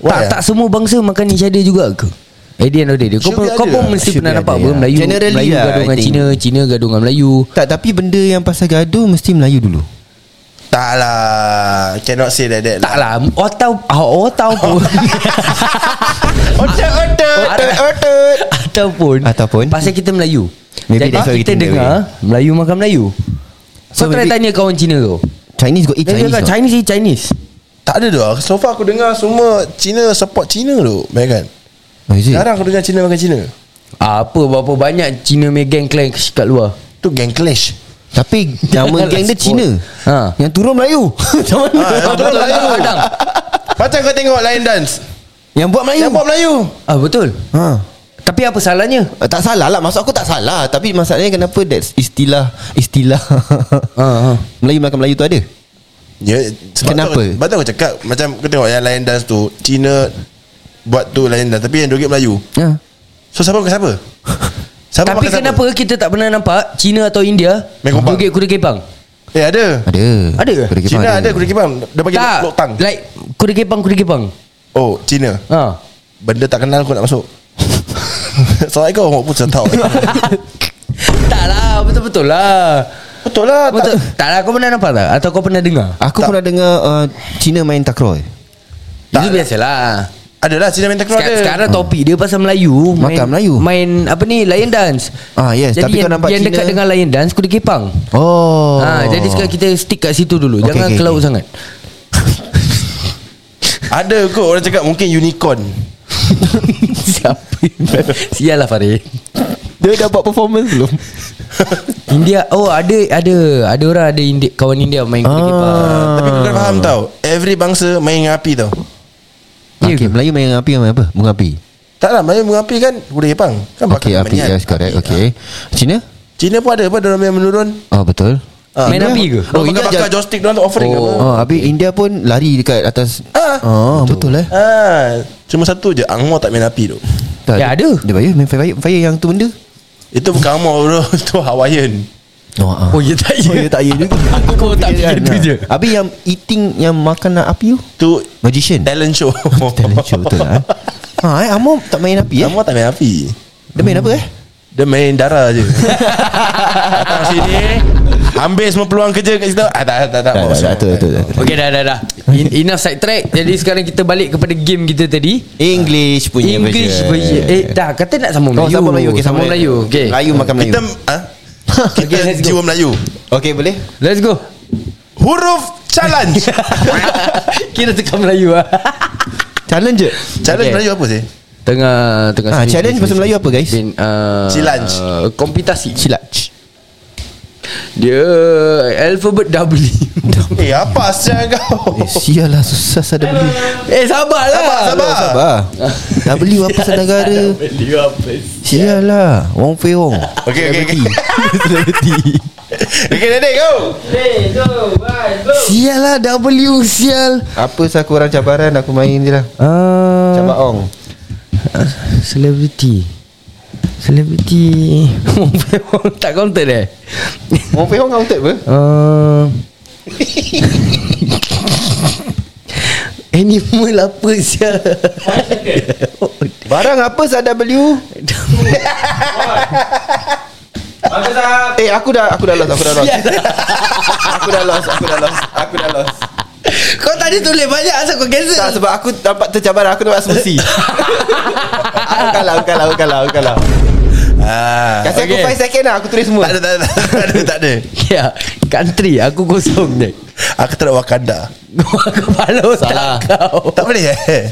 [SPEAKER 4] Why,
[SPEAKER 3] Tak
[SPEAKER 4] ah?
[SPEAKER 3] tak semua bangsa makan each other juga ke At the end of the day Kau,
[SPEAKER 4] Should
[SPEAKER 3] pun,
[SPEAKER 4] be
[SPEAKER 3] kau
[SPEAKER 4] ada
[SPEAKER 3] pun
[SPEAKER 4] lah.
[SPEAKER 3] mesti
[SPEAKER 2] Should
[SPEAKER 3] pernah
[SPEAKER 2] be
[SPEAKER 3] nampak
[SPEAKER 2] ada
[SPEAKER 3] apa
[SPEAKER 2] lah.
[SPEAKER 3] Melayu
[SPEAKER 2] Generally
[SPEAKER 3] Melayu
[SPEAKER 2] lah,
[SPEAKER 3] gaduh
[SPEAKER 2] I
[SPEAKER 3] dengan
[SPEAKER 2] think.
[SPEAKER 3] Cina Cina gaduh dengan Melayu
[SPEAKER 2] Tak, tapi benda yang pasal gaduh mesti Melayu dulu.
[SPEAKER 4] Tak lah Cannot say like that
[SPEAKER 3] Tak lah Otau Otau pun
[SPEAKER 4] Otak otak
[SPEAKER 3] Otak,
[SPEAKER 4] otak
[SPEAKER 3] Ataupun
[SPEAKER 2] Ataupun.
[SPEAKER 3] Pasal kita Melayu
[SPEAKER 2] Maybe
[SPEAKER 3] Jadi
[SPEAKER 2] that's how it
[SPEAKER 3] kita
[SPEAKER 2] in the
[SPEAKER 3] dengar Melayu makan Melayu
[SPEAKER 2] So
[SPEAKER 3] So try
[SPEAKER 2] maybe-
[SPEAKER 3] tanya kawan Cina tu
[SPEAKER 2] Chinese got eat
[SPEAKER 3] Dia
[SPEAKER 2] Chinese.
[SPEAKER 3] cakap
[SPEAKER 2] not?
[SPEAKER 3] Chinese eh Chinese
[SPEAKER 4] Tak ada dah So far aku dengar semua Cina support Cina tu Bayangkan
[SPEAKER 2] Oh,
[SPEAKER 3] Hmm.
[SPEAKER 2] is it?
[SPEAKER 4] Sekarang aku dengar Cina makan Cina
[SPEAKER 3] Apa berapa banyak Cina punya gang clash kat luar
[SPEAKER 4] Tu gang clash
[SPEAKER 2] Tapi nama
[SPEAKER 3] Janganlah
[SPEAKER 2] geng dia
[SPEAKER 3] support.
[SPEAKER 2] Cina.
[SPEAKER 3] Ha.
[SPEAKER 2] Yang turun Melayu. Macam mana?
[SPEAKER 4] Ah, yang
[SPEAKER 3] ya, betul,
[SPEAKER 4] betul Melayu
[SPEAKER 3] betul, Adam.
[SPEAKER 4] Macam kau tengok Lion Dance
[SPEAKER 2] Yang buat Melayu.
[SPEAKER 4] Yang buat Melayu
[SPEAKER 3] Ah betul
[SPEAKER 2] Ha.
[SPEAKER 3] Tapi apa salahnya
[SPEAKER 2] Eh, Tak salah lah Maksud aku tak salah Tapi masalahnya kenapa That istilah Istilah
[SPEAKER 3] Ha, ha.
[SPEAKER 2] Melayu makan Melayu tu ada
[SPEAKER 4] Ya sebab
[SPEAKER 2] Kenapa?
[SPEAKER 4] tu, Sebab tu aku cakap Macam kau tengok yang Lion Dance tu Cina Buat tu Lion Dance Tapi yang joget Melayu
[SPEAKER 2] ha.
[SPEAKER 4] So siapa makan siapa? Siapa
[SPEAKER 3] Tapi
[SPEAKER 4] makan
[SPEAKER 3] kenapa kita tak pernah nampak Cina atau India
[SPEAKER 4] Main kompang.
[SPEAKER 3] Joget kuda kepang
[SPEAKER 4] siapa? Eh ada
[SPEAKER 2] Ada
[SPEAKER 3] Ada ke?
[SPEAKER 2] Kuda kepang
[SPEAKER 4] Cina ada kuda kepang Dia panggil
[SPEAKER 3] Tak
[SPEAKER 4] lontang
[SPEAKER 3] Like kuda kepang kuda kepang
[SPEAKER 4] Oh Cina
[SPEAKER 3] Ha
[SPEAKER 4] Benda tak kenal kau nak masuk Assalamualaikum Aku pun tahu
[SPEAKER 3] Tak lah Betul-betul lah
[SPEAKER 4] Betul lah
[SPEAKER 3] Betul
[SPEAKER 4] tak,
[SPEAKER 3] Tak lah kau pernah nampak tak Atau kau pernah dengar
[SPEAKER 2] Aku tak. pernah dengar uh, Cina main takraw eh.
[SPEAKER 4] Tak
[SPEAKER 3] Itu
[SPEAKER 4] lah.
[SPEAKER 3] biasalah
[SPEAKER 4] Adalah Cina minta keluar
[SPEAKER 3] Sekarang,
[SPEAKER 4] ada
[SPEAKER 3] sekarang topik dia pasal Melayu
[SPEAKER 2] Makan Melayu.
[SPEAKER 3] Main apa ni Lion dance
[SPEAKER 2] Ah, yes.
[SPEAKER 3] Jadi
[SPEAKER 2] Tapi
[SPEAKER 3] yang,
[SPEAKER 2] kau nampak
[SPEAKER 3] yang
[SPEAKER 2] Cina-
[SPEAKER 3] dekat dengan Lion dance Kuda kepang
[SPEAKER 2] Oh.
[SPEAKER 3] oh. ha, Jadi sekarang kita stick kat situ dulu
[SPEAKER 2] Okey,
[SPEAKER 3] okay, Jangan
[SPEAKER 2] okey,
[SPEAKER 3] okay, kelaut
[SPEAKER 2] okey.
[SPEAKER 3] okay. sangat
[SPEAKER 4] Ada kot orang cakap Mungkin unicorn
[SPEAKER 3] Siapa Sial lah Farid
[SPEAKER 2] dia dah buat performance belum?
[SPEAKER 3] India Oh ada Ada Ada orang ada India, Kawan India main
[SPEAKER 2] Ah.
[SPEAKER 3] kuda kepang
[SPEAKER 4] Tapi kau kena faham tau Every bangsa main dengan api tau
[SPEAKER 3] Ya
[SPEAKER 2] Okay,
[SPEAKER 3] ke?
[SPEAKER 2] Melayu main dengan api main apa? Bunga api.
[SPEAKER 4] Tak lah Melayu mengapi kan Kuda Jepang Kan
[SPEAKER 2] Okay,
[SPEAKER 4] bakar
[SPEAKER 2] api.
[SPEAKER 4] minyak.
[SPEAKER 2] Yes, correct. Okay. Cina?
[SPEAKER 4] Cina pun ada apa Diorang main menurun
[SPEAKER 2] Oh, betul.
[SPEAKER 4] Ah,
[SPEAKER 3] Main
[SPEAKER 2] India-
[SPEAKER 3] api ke?
[SPEAKER 2] Oh,
[SPEAKER 4] Oh,
[SPEAKER 2] India
[SPEAKER 4] bakar, bakar
[SPEAKER 2] jad-
[SPEAKER 4] joystick Diorang tu offering
[SPEAKER 3] Oh.
[SPEAKER 4] oh. apa
[SPEAKER 2] Oh, habis India pun lari dekat atas.
[SPEAKER 4] Ah.
[SPEAKER 2] Oh, betul, eh.
[SPEAKER 4] Ah, Cuma satu je Angmoh tak main api tu
[SPEAKER 2] Tak,
[SPEAKER 3] Ya, ada.
[SPEAKER 2] Dia bayar main fire, fire yang tu benda.
[SPEAKER 4] Itu bukan Angmoh bro Itu Hawaiian
[SPEAKER 2] Oh, ah.
[SPEAKER 3] Oh ya tak ya
[SPEAKER 2] Oh, ya, tak ya juga.
[SPEAKER 3] Kau tak fikir
[SPEAKER 2] Kan,
[SPEAKER 3] tu
[SPEAKER 2] ah.
[SPEAKER 3] je
[SPEAKER 2] Habis yang eating yang makan nak api tu?
[SPEAKER 4] Itu
[SPEAKER 2] Magician.
[SPEAKER 4] talent show
[SPEAKER 2] Talent show betul lah. eh. Ha, eh, Amor tak main api eh?
[SPEAKER 4] Angmoh tak main api
[SPEAKER 2] Dia main apa eh?
[SPEAKER 4] Dia main darah je Datang sini Ambil semua peluang kerja kat situ ah, Tak tak tak,
[SPEAKER 2] Tak, tak, tak, tu, tu, tu.
[SPEAKER 3] Okay dah dah dah In, Enough side track Jadi sekarang kita balik kepada game kita tadi
[SPEAKER 2] English punya
[SPEAKER 3] English version Eh dah kata nak sambung
[SPEAKER 2] Oh,
[SPEAKER 3] Melayu
[SPEAKER 2] sambung Melayu. Okay,
[SPEAKER 3] Sambung Melayu Okay
[SPEAKER 2] Melayu makan Melayu.
[SPEAKER 4] Kita ah, Kita
[SPEAKER 3] Okay, let's go.
[SPEAKER 4] jiwa Melayu
[SPEAKER 2] Okay, boleh?
[SPEAKER 3] Let's go
[SPEAKER 4] Huruf challenge
[SPEAKER 3] Kira tukar Melayu lah
[SPEAKER 2] Challenge je.
[SPEAKER 4] Challenge
[SPEAKER 3] Okay.
[SPEAKER 4] Melayu apa sih?
[SPEAKER 3] Tengah tengah
[SPEAKER 2] Ah,
[SPEAKER 3] sini,
[SPEAKER 2] challenge
[SPEAKER 3] sini,
[SPEAKER 2] bahasa
[SPEAKER 3] sini.
[SPEAKER 2] Melayu apa, guys?
[SPEAKER 3] Bin, uh,
[SPEAKER 4] Challenge.
[SPEAKER 3] Komputasi
[SPEAKER 2] Cilaj.
[SPEAKER 3] Dia Alphabet W
[SPEAKER 4] Eh apa asal kau?
[SPEAKER 2] Eh, sial lah susah saya dah beli.
[SPEAKER 3] Eh sabarlah
[SPEAKER 4] Sabar, sabar.
[SPEAKER 2] Sabar. Dah beli apa senegara? Sial lah. Wong Fei Wong.
[SPEAKER 4] Okey okey okey. Okey dedek kau.
[SPEAKER 2] Sial lah W sial. Apa saya korang cabaran aku main je lah.
[SPEAKER 3] Ah,
[SPEAKER 2] Cabar ong.
[SPEAKER 3] Celebrity Celebrity Tak eh? counter deh
[SPEAKER 2] Wong Fei Wong counted apa?
[SPEAKER 3] uh, Animal apa sia
[SPEAKER 2] Barang apa saya W? Eh aku dah aku dah lost aku dah lost. Aku dah lost aku dah lost aku dah lost.
[SPEAKER 3] Kau tadi tulis banyak Asal kau
[SPEAKER 2] Tak
[SPEAKER 3] cancel
[SPEAKER 2] sebab aku dapat tercabar aku dapat smoothie. aku kalah aku kalah aku kalah aku kalah.
[SPEAKER 4] Ah.
[SPEAKER 2] Kasih
[SPEAKER 3] Okay.
[SPEAKER 2] aku 5 second lah Aku tulis semua
[SPEAKER 4] Tak ada tak ada tak ada tak ada.
[SPEAKER 3] Ya Country Aku kosong je
[SPEAKER 4] Aku tak ada Wakanda.
[SPEAKER 3] Kau kepala
[SPEAKER 2] Salah.
[SPEAKER 3] otak kau
[SPEAKER 4] Tak boleh eh.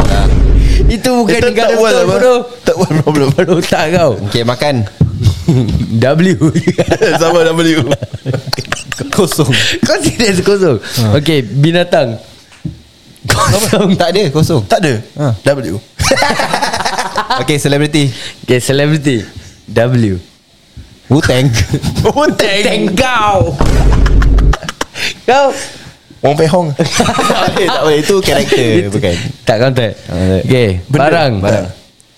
[SPEAKER 3] Itu bukan
[SPEAKER 4] Itu
[SPEAKER 3] negara
[SPEAKER 4] tak world
[SPEAKER 3] betul
[SPEAKER 4] apa?
[SPEAKER 3] bro
[SPEAKER 4] Tak world problem.
[SPEAKER 3] Kepala otak kau
[SPEAKER 2] Okay makan
[SPEAKER 3] W
[SPEAKER 4] Sama W.
[SPEAKER 2] Kosong
[SPEAKER 3] Kau serius kosong Okay Ha. Binatang Kosong
[SPEAKER 2] Tak ada kosong
[SPEAKER 4] Tak ada.
[SPEAKER 2] Ah.
[SPEAKER 4] W.
[SPEAKER 2] Okay celebrity
[SPEAKER 3] Okay celebrity W
[SPEAKER 2] Wu-Tang
[SPEAKER 4] Oh teng.
[SPEAKER 3] Tengkau Kau
[SPEAKER 4] Wong Pei Hong.
[SPEAKER 2] Tak boleh Eh, tak boleh Itu karakter Bukan
[SPEAKER 3] Tak counter
[SPEAKER 2] counter.
[SPEAKER 3] Okay
[SPEAKER 4] Benda.
[SPEAKER 3] Barang
[SPEAKER 4] Barang.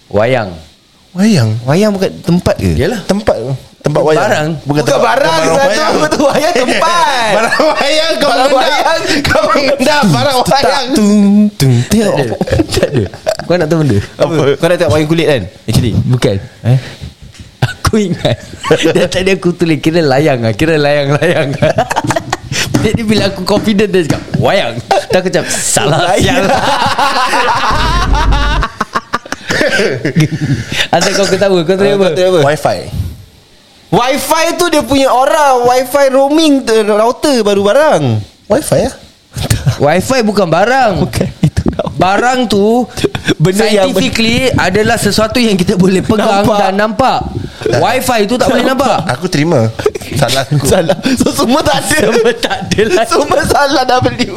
[SPEAKER 3] Wayang
[SPEAKER 4] Wayang.
[SPEAKER 2] Wayang bukan tempat ke?
[SPEAKER 4] Yalah tempat tempat
[SPEAKER 3] Bukan
[SPEAKER 4] wayang.
[SPEAKER 3] barang.
[SPEAKER 2] Bukan
[SPEAKER 4] tempat-
[SPEAKER 2] barang Satu
[SPEAKER 4] wayang.
[SPEAKER 2] apa tu Wayang tempat
[SPEAKER 4] Barang wayang kau
[SPEAKER 2] Barang
[SPEAKER 4] mengendap.
[SPEAKER 2] wayang Kau mengendap Barang wayang
[SPEAKER 4] Tung tung teo.
[SPEAKER 3] Tak ada Kau nak tahu benda
[SPEAKER 2] Apa? Kau dah tengok wayang kulit kan? Actually
[SPEAKER 3] Bukan
[SPEAKER 2] Eh?
[SPEAKER 3] Aku ingat Dan tadi aku tulis Kira layang lah Kira layang-layang Jadi bila aku confident Dia cakap Wayang Tak aku cakap Salah sial Asal kau ketawa Kau tulis apa
[SPEAKER 4] Wi-Fi.
[SPEAKER 2] Wi-Fi tu dia punya orang Wi-Fi roaming tu, Router baru barang
[SPEAKER 4] Wi-Fi ya?
[SPEAKER 3] Wi-Fi bukan barang
[SPEAKER 4] Kan,
[SPEAKER 2] Bukan, itu nak-
[SPEAKER 3] Barang tu
[SPEAKER 2] Benda yang-
[SPEAKER 3] Scientifically Adalah sesuatu yang kita boleh pegang
[SPEAKER 2] Nampak.
[SPEAKER 3] Dan nampak Wi-Fi tu tak boleh nampak
[SPEAKER 4] Aku terima. Salah aku.
[SPEAKER 2] Salah So semua tak ada
[SPEAKER 3] Semua tak ada lah
[SPEAKER 2] Semua salah W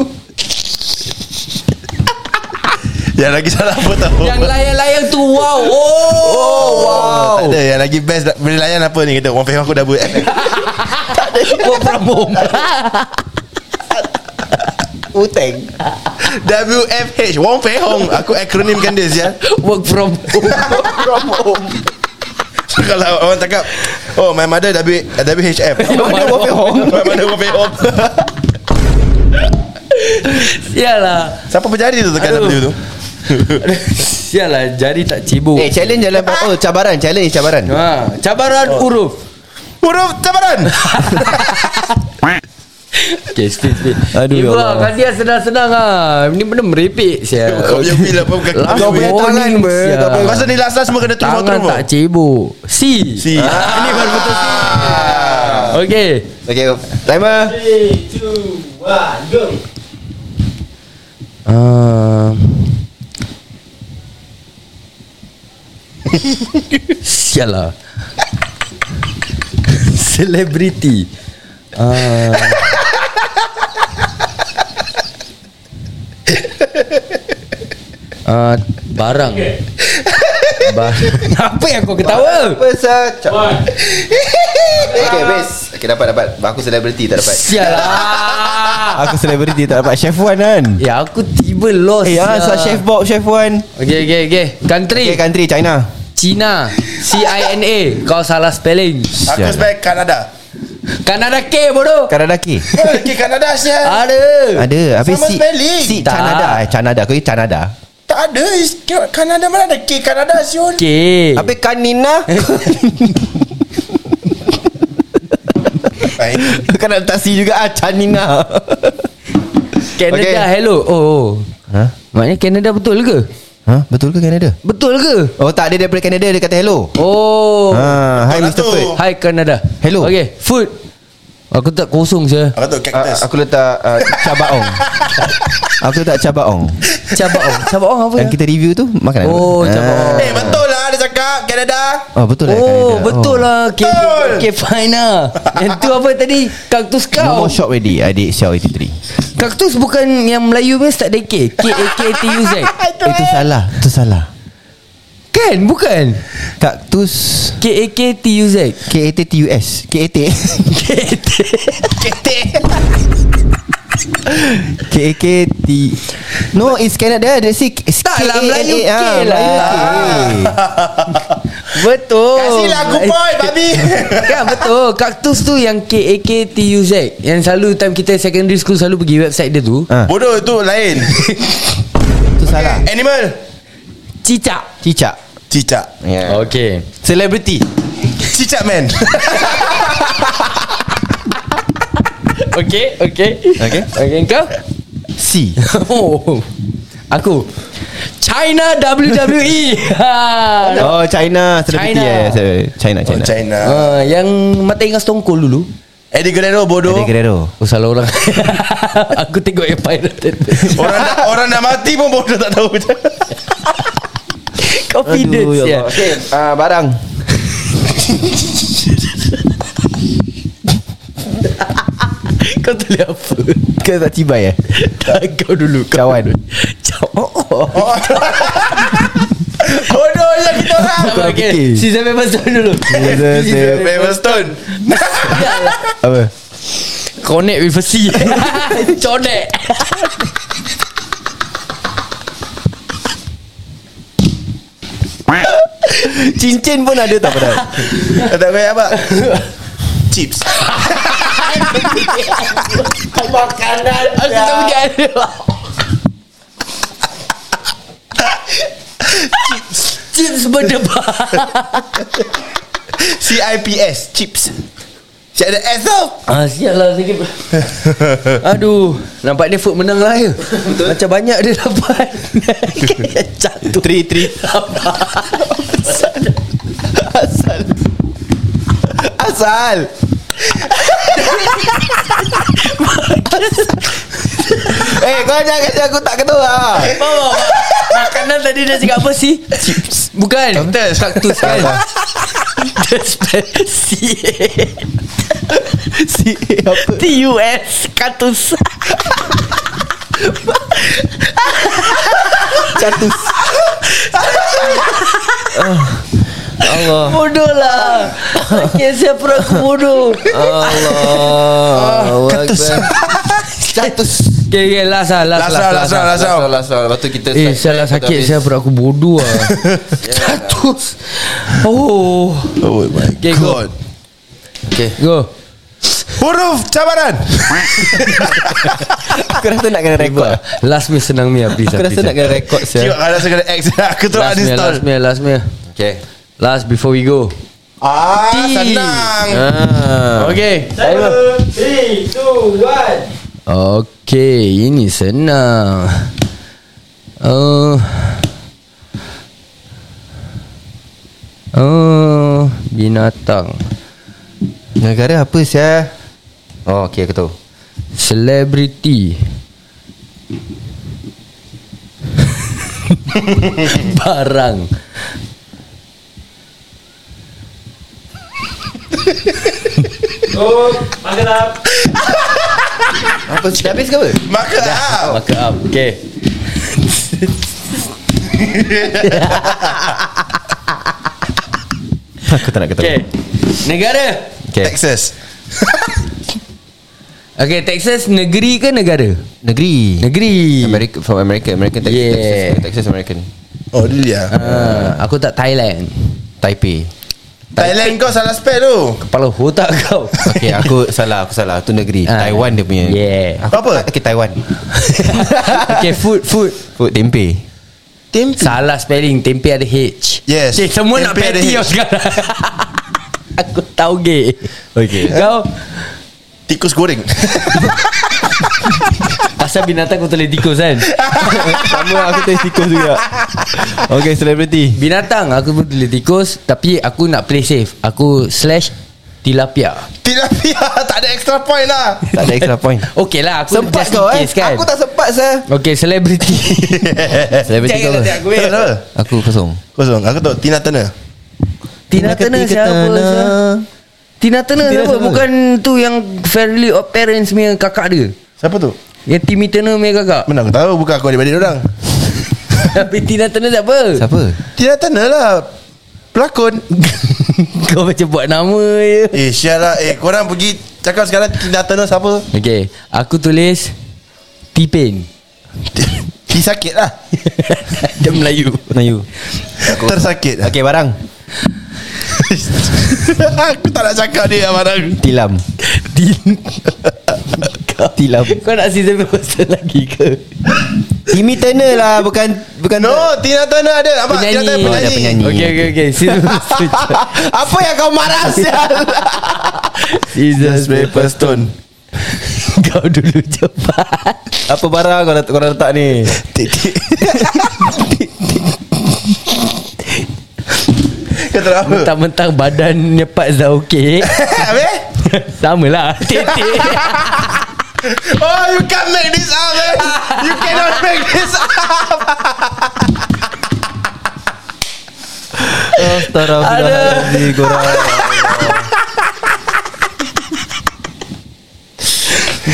[SPEAKER 4] Yang lagi salah apa tahu
[SPEAKER 3] Yang layang-layang tu Wow Oh, oh
[SPEAKER 4] Oh, tak ada Yang lagi best nak- Boleh layan apa ni Kata Orang faham aku dah buat
[SPEAKER 3] Work from home
[SPEAKER 2] Uteng
[SPEAKER 4] WFH Wong Fei Hong Aku akronimkan dia Zia
[SPEAKER 3] Work from home
[SPEAKER 2] From home
[SPEAKER 4] So, Kalau orang cakap Oh my mother W, WHF
[SPEAKER 2] Mana Wong Fei Hong?
[SPEAKER 4] My mother Wong Fei Hong
[SPEAKER 3] Sialah
[SPEAKER 4] Siapa penjari tu tekan
[SPEAKER 3] Aduh.
[SPEAKER 4] W tu
[SPEAKER 3] Sial lah jari tak cibuk
[SPEAKER 2] Eh challenge jalan Oh cabaran Challenge cabaran
[SPEAKER 3] ha, Cabaran huruf
[SPEAKER 4] Huruf cabaran
[SPEAKER 3] Okay speed speed
[SPEAKER 2] Aduh, ya
[SPEAKER 3] Ibu lah
[SPEAKER 2] Allah.
[SPEAKER 3] kan dia senang-senang lah Ni benda merepek sial
[SPEAKER 4] Kau punya feel apa bukan
[SPEAKER 3] Last
[SPEAKER 4] ya Kau punya
[SPEAKER 3] warning,
[SPEAKER 2] tangan, ber.
[SPEAKER 3] sial.
[SPEAKER 2] Kau punya-
[SPEAKER 4] Masa ni last last semua kena terus Ah.
[SPEAKER 3] Tangan tak cibuk Si
[SPEAKER 4] Si
[SPEAKER 2] Ah.
[SPEAKER 3] Ini baru betul si Okay
[SPEAKER 2] Okay Timer Ah.
[SPEAKER 3] uh, Sial lah Celebrity uh, uh, Barang Barang Apa yang kau ketawa?
[SPEAKER 2] Besar Okay best Okay dapat dapat Aku selebriti tak dapat
[SPEAKER 3] Sial lah
[SPEAKER 2] Ah. Aku selebriti tak dapat Chef Wan kan
[SPEAKER 3] Ya aku tiba lost
[SPEAKER 2] Eh ah, so
[SPEAKER 3] lah.
[SPEAKER 2] Chef Bob Chef Wan
[SPEAKER 3] Okay okay okay Country
[SPEAKER 2] Okay kan- country China
[SPEAKER 3] Cina C-I-N-A Kau salah spelling
[SPEAKER 4] Aku sebaik Kanada
[SPEAKER 3] Kanada K bodoh
[SPEAKER 2] Karadaki
[SPEAKER 4] Okay Kanada
[SPEAKER 2] Ah.
[SPEAKER 4] siap
[SPEAKER 3] Ada
[SPEAKER 2] Kan- Ada Habis
[SPEAKER 4] Sama
[SPEAKER 2] si
[SPEAKER 4] spelling.
[SPEAKER 2] Si
[SPEAKER 3] Tak.
[SPEAKER 2] Canada eh, Canada Kau ingat Canada
[SPEAKER 4] Tak ada is- Kanada mana ada K Kanada siul
[SPEAKER 3] K
[SPEAKER 2] Habis Kanina
[SPEAKER 4] Baik.
[SPEAKER 2] Kau nak letak C juga ah Canina
[SPEAKER 3] Canada
[SPEAKER 2] Okay.
[SPEAKER 3] hello Oh, oh.
[SPEAKER 2] Ha?
[SPEAKER 3] Maknanya Canada betul ke?
[SPEAKER 2] Ha? Betul ke Canada?
[SPEAKER 3] Betul ke?
[SPEAKER 2] Oh tak ada daripada Canada Dia kata hello
[SPEAKER 3] Oh
[SPEAKER 2] Ha, hi
[SPEAKER 4] Betul lah
[SPEAKER 2] Mr.
[SPEAKER 4] tu.
[SPEAKER 2] Ferd
[SPEAKER 3] Hi Canada
[SPEAKER 2] Hello.
[SPEAKER 3] Okay food Aku tak kosong je
[SPEAKER 4] Aku tu
[SPEAKER 2] Uh,
[SPEAKER 4] cactus
[SPEAKER 2] aku letak uh, cabaong. aku letak cabaong.
[SPEAKER 3] Cabaong Cabaong apa
[SPEAKER 2] Yang kita review tu makanan.
[SPEAKER 3] Oh, cabaong.
[SPEAKER 4] Eh betul lah dia cakap Kanada
[SPEAKER 2] Ah. Oh, betul lah. Canada.
[SPEAKER 3] Oh betul lah Okay,
[SPEAKER 4] Betul.
[SPEAKER 3] okay fine lah Yang tu apa tadi Kaktus
[SPEAKER 2] No
[SPEAKER 3] kau
[SPEAKER 2] more shop ready Adik Xiao 83
[SPEAKER 3] Kaktus bukan yang Melayu punya Start dari K K-A-K-T-U-Z Eh,
[SPEAKER 2] Itu Eh, salah Itu salah
[SPEAKER 3] Kan bukan
[SPEAKER 2] Kaktus
[SPEAKER 3] K-A-K-T-U-Z
[SPEAKER 2] K-A-T-T-U-S K-A-T K-A-K-T No it's Canada They say it's
[SPEAKER 3] Tak lah,
[SPEAKER 2] K-A-N-A.
[SPEAKER 3] Melayu K
[SPEAKER 2] Ah,
[SPEAKER 3] lah.
[SPEAKER 2] Melayu K.
[SPEAKER 3] Betul
[SPEAKER 2] Oh.
[SPEAKER 4] Kasihlah lah aku point babi
[SPEAKER 3] Kan betul Kaktus tu yang K-A-K-T-U-Z Yang selalu time kita secondary school Selalu pergi website dia tu
[SPEAKER 2] Ah,
[SPEAKER 4] Bodoh tu lain
[SPEAKER 2] Itu salah
[SPEAKER 4] Animal
[SPEAKER 3] Cicak
[SPEAKER 2] Cicak Oh,
[SPEAKER 4] Cicak
[SPEAKER 3] Ya.
[SPEAKER 2] yeah.
[SPEAKER 3] Okay
[SPEAKER 2] Celebrity
[SPEAKER 4] Cicak man
[SPEAKER 3] Okay Okay
[SPEAKER 2] Okay.
[SPEAKER 3] Okay kau
[SPEAKER 2] C
[SPEAKER 3] Oh Aku China E. WWE ha.
[SPEAKER 2] Oh China Celebrity
[SPEAKER 3] China.
[SPEAKER 2] China. Yeah, China China
[SPEAKER 4] Oh,
[SPEAKER 2] Ah.
[SPEAKER 4] China
[SPEAKER 3] Uh, yang mata ingat Stone Cold dulu
[SPEAKER 4] Eddie Guerrero bodoh
[SPEAKER 2] Eddie Guerrero
[SPEAKER 3] Oh salah orang Aku tengok yang pirated
[SPEAKER 4] Orang dah, orang dah mati pun bodoh tak tahu
[SPEAKER 3] Confidence
[SPEAKER 2] Aduh,
[SPEAKER 3] ya
[SPEAKER 2] ya Allah. Okay uh, Barang
[SPEAKER 3] Kau tulis apa
[SPEAKER 2] Kau tak cibai eh
[SPEAKER 3] Tak kau dulu kau.
[SPEAKER 2] Cawan
[SPEAKER 3] Caw- oh, oh.
[SPEAKER 4] Bodoh je kita orang
[SPEAKER 2] dah fikir.
[SPEAKER 3] Okay Season memang Stone dulu
[SPEAKER 4] Paper Stone
[SPEAKER 2] Apa
[SPEAKER 3] Connect with a C Connect
[SPEAKER 2] Cincin pun ada tak padahal
[SPEAKER 4] Tak payah apa Chips
[SPEAKER 3] Aku tak pergi ada Chips berdebar
[SPEAKER 4] C-I-P-S Chips Cik ada S tau
[SPEAKER 3] Ah sial lah sikit Aduh Nampak dia food menang lah ya Betul Macam banyak dia dapat Jatuh
[SPEAKER 2] Tri tri Asal Asal Eh kau jangan kasi aku tak ketua ah.
[SPEAKER 3] Bawa Makanan tadi dia cakap apa sih? Chips Bukan
[SPEAKER 4] Kaktus.
[SPEAKER 3] Kaktus kan Dia spell C-A-T-U-S
[SPEAKER 2] Si apa
[SPEAKER 3] Kaktus
[SPEAKER 2] Catus Allah
[SPEAKER 3] Ah. Bodoh lah Okay saya pernah aku bodoh Ah,
[SPEAKER 2] Allah
[SPEAKER 4] Ketus.
[SPEAKER 2] Catus
[SPEAKER 3] Okay okay last lah Last
[SPEAKER 4] Last lah, last lah, last lah.
[SPEAKER 2] Last round Lepas tu kita Ya,
[SPEAKER 3] Eh saya lah sakit Saya pernah aku bodoh lah Kaktus Oh
[SPEAKER 4] Oh my
[SPEAKER 3] Okay, go.
[SPEAKER 4] god
[SPEAKER 2] Okay
[SPEAKER 3] Go
[SPEAKER 4] Huruf cabaran
[SPEAKER 2] Aku rasa nak kena rekod
[SPEAKER 3] Last me senang me Please
[SPEAKER 2] Aku rasa nak kena rekod
[SPEAKER 4] Tengok
[SPEAKER 2] saya.
[SPEAKER 4] kalau saya kena X Aku tu
[SPEAKER 3] Last me
[SPEAKER 4] uninstall
[SPEAKER 3] Last me Last me
[SPEAKER 2] Okay
[SPEAKER 3] Last before we go
[SPEAKER 4] Ah senang
[SPEAKER 3] ah. Okay Timer 3, 2, 1 Okay Ini senang Oh Oh Binatang
[SPEAKER 2] Negara apa saya? Oh okay aku tahu
[SPEAKER 3] Celebrity Barang
[SPEAKER 2] Apa sudah habis ke apa?
[SPEAKER 4] Maka ah,
[SPEAKER 3] Maka up Okay
[SPEAKER 2] Aku tak nak kata
[SPEAKER 3] Okay Negara
[SPEAKER 2] Okay.
[SPEAKER 4] Texas
[SPEAKER 3] Okay Texas negeri ke negara?
[SPEAKER 2] Negeri
[SPEAKER 3] Negeri
[SPEAKER 2] America, From America American Texas
[SPEAKER 3] Yeah.
[SPEAKER 2] Texas, Texas American
[SPEAKER 4] Oh really ah
[SPEAKER 3] Ah, Aku tak Thailand
[SPEAKER 2] Taipei
[SPEAKER 4] Thailand kau salah spell tu
[SPEAKER 3] Kepala otak kau
[SPEAKER 2] Okay aku salah Aku salah Itu negeri
[SPEAKER 3] Ah.
[SPEAKER 2] Taiwan dia punya
[SPEAKER 3] Yeah.
[SPEAKER 2] aku, Apa? Okay Taiwan
[SPEAKER 3] Okay food food
[SPEAKER 2] Food tempe
[SPEAKER 4] Tempe
[SPEAKER 3] Salah spelling Tempe ada H
[SPEAKER 4] Yes.
[SPEAKER 3] Cik, Eh, Semua nak
[SPEAKER 4] Tempe ada
[SPEAKER 3] patty
[SPEAKER 4] H.
[SPEAKER 3] kau sekarang Aku tahu gay
[SPEAKER 2] Okay
[SPEAKER 3] Kau
[SPEAKER 4] Tikus goreng
[SPEAKER 3] Pasal binatang kau tulis tikus kan
[SPEAKER 2] Sama aku tulis tikus juga Okay celebrity
[SPEAKER 3] Binatang Aku pun tulis tikus Tapi aku nak play safe Aku slash Tilapia
[SPEAKER 4] Tilapia Tak ada extra point lah
[SPEAKER 2] Tak ada extra point
[SPEAKER 3] Okay lah aku
[SPEAKER 2] Sempat
[SPEAKER 3] just
[SPEAKER 2] kau
[SPEAKER 3] in
[SPEAKER 2] eh
[SPEAKER 3] case, kan?
[SPEAKER 2] Aku tak sempat sah
[SPEAKER 3] Okay celebrity
[SPEAKER 2] Celebrity kau apa?
[SPEAKER 4] Kau tak tahu
[SPEAKER 2] Aku kosong
[SPEAKER 4] Kosong Aku tahu Tina Turner
[SPEAKER 3] Tina Turner siapa Zah? Tina Turner
[SPEAKER 2] Tina
[SPEAKER 3] siapa
[SPEAKER 2] Turner.
[SPEAKER 3] Bukan tu yang Fairly Odd Parents punya kakak dia
[SPEAKER 4] Siapa tu?
[SPEAKER 3] Yang Timmy Turner punya kakak
[SPEAKER 4] Mana aku tahu Bukan aku adik-adik orang
[SPEAKER 3] Tapi Tina Turner siapa
[SPEAKER 2] Siapa?
[SPEAKER 4] Tina Turner lah Pelakon
[SPEAKER 3] Kau macam buat nama je
[SPEAKER 4] Eh Syah lah Eh korang pergi Cakap sekarang Tina Turner siapa
[SPEAKER 3] Okay Aku tulis T-Pain
[SPEAKER 4] Ti sakit lah
[SPEAKER 3] Dia Melayu
[SPEAKER 2] Melayu
[SPEAKER 4] Tersakit
[SPEAKER 2] Okay barang
[SPEAKER 4] Aku tak nak cakap dia Barang
[SPEAKER 2] Tilam Tilam
[SPEAKER 3] Kau nak season pasal lagi ke
[SPEAKER 2] Timmy Turner lah Bukan Bukan
[SPEAKER 4] No Tina Turner ada Nampak Tina
[SPEAKER 3] Penyanyi.
[SPEAKER 2] Oh,
[SPEAKER 4] Turner
[SPEAKER 2] dia
[SPEAKER 4] penyanyi,
[SPEAKER 2] penyanyi.
[SPEAKER 3] Okay okay okay Season pasal
[SPEAKER 2] Apa yang kau marah sial
[SPEAKER 3] Season
[SPEAKER 4] Just paper stone
[SPEAKER 3] Kau dulu cepat
[SPEAKER 2] Apa barang kau letak, kau letak ni
[SPEAKER 4] Titik Kau tak apa
[SPEAKER 3] Mentang-mentang badan Nyepat dah okay
[SPEAKER 4] Habis
[SPEAKER 3] Sama lah Titik
[SPEAKER 4] Oh you can't make this up man You cannot make this up
[SPEAKER 2] Astaghfirullahaladzim Korang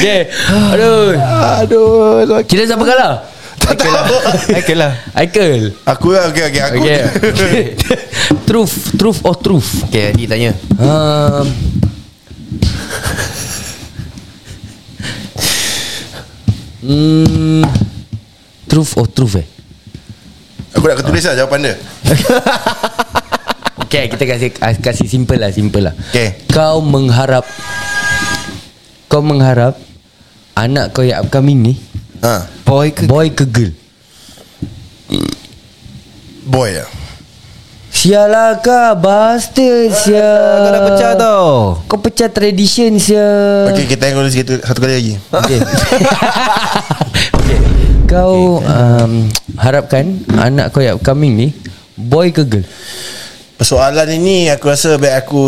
[SPEAKER 3] Okay Aduh
[SPEAKER 4] Aduh lelaki.
[SPEAKER 3] Kira siapa kalah?
[SPEAKER 4] Tak tahu
[SPEAKER 2] Okay lah
[SPEAKER 3] Aikal
[SPEAKER 4] Aku lah okay, okay, Aku
[SPEAKER 3] Okay Truth Truth or truth
[SPEAKER 2] Okay Adi tanya
[SPEAKER 3] um, Hmm Truth or truth eh
[SPEAKER 4] Aku nak ketulis lah jawapan dia
[SPEAKER 3] Okay kita kasih Kasih simple lah Simple lah
[SPEAKER 4] Okay.
[SPEAKER 3] Kau mengharap Kau mengharap Anak kau yang upcoming ni
[SPEAKER 4] ha,
[SPEAKER 2] Boy ke
[SPEAKER 3] Boy ke girl
[SPEAKER 4] Boy lah
[SPEAKER 3] Sialah kah Bastard sia
[SPEAKER 2] Eh, Kau dah pecah tau
[SPEAKER 3] Kau pecah tradition sia
[SPEAKER 4] Okay kita yang tulis gitu, satu kali lagi
[SPEAKER 3] Okay. okay. Kau um, harapkan anak kau yang upcoming ni boy ke girl?
[SPEAKER 4] Persoalan ini aku rasa baik aku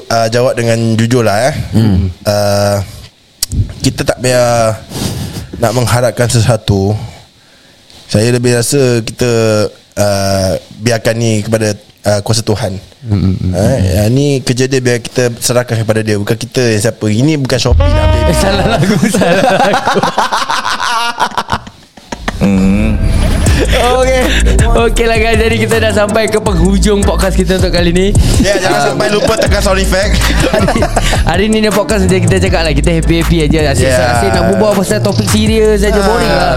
[SPEAKER 4] uh, jawab dengan jujur lah eh. Hmm. Uh, kita tak payah nak mengharapkan sesuatu. Saya lebih rasa kita uh, biarkan ni kepada uh, kuasa Tuhan. Hmm. Uh, ni kerja dia biar kita serahkan kepada dia bukan kita yang siapa. Ini bukan Shopee lah, nak beli.
[SPEAKER 3] Eh,
[SPEAKER 4] Hmm.
[SPEAKER 3] salah lagu, salah lagu. Okay Okay lah guys Jadi kita dah sampai ke penghujung podcast kita untuk kali ni Ah,
[SPEAKER 4] Ya yeah, jangan sampai lupa tekan sound effect
[SPEAKER 3] hari, hari ni ni podcast dia kita cakap lah Kita happy-happy aja Asyik
[SPEAKER 4] Yeah.
[SPEAKER 3] yeah. asyik nak berbual pasal topik serius aja Boring lah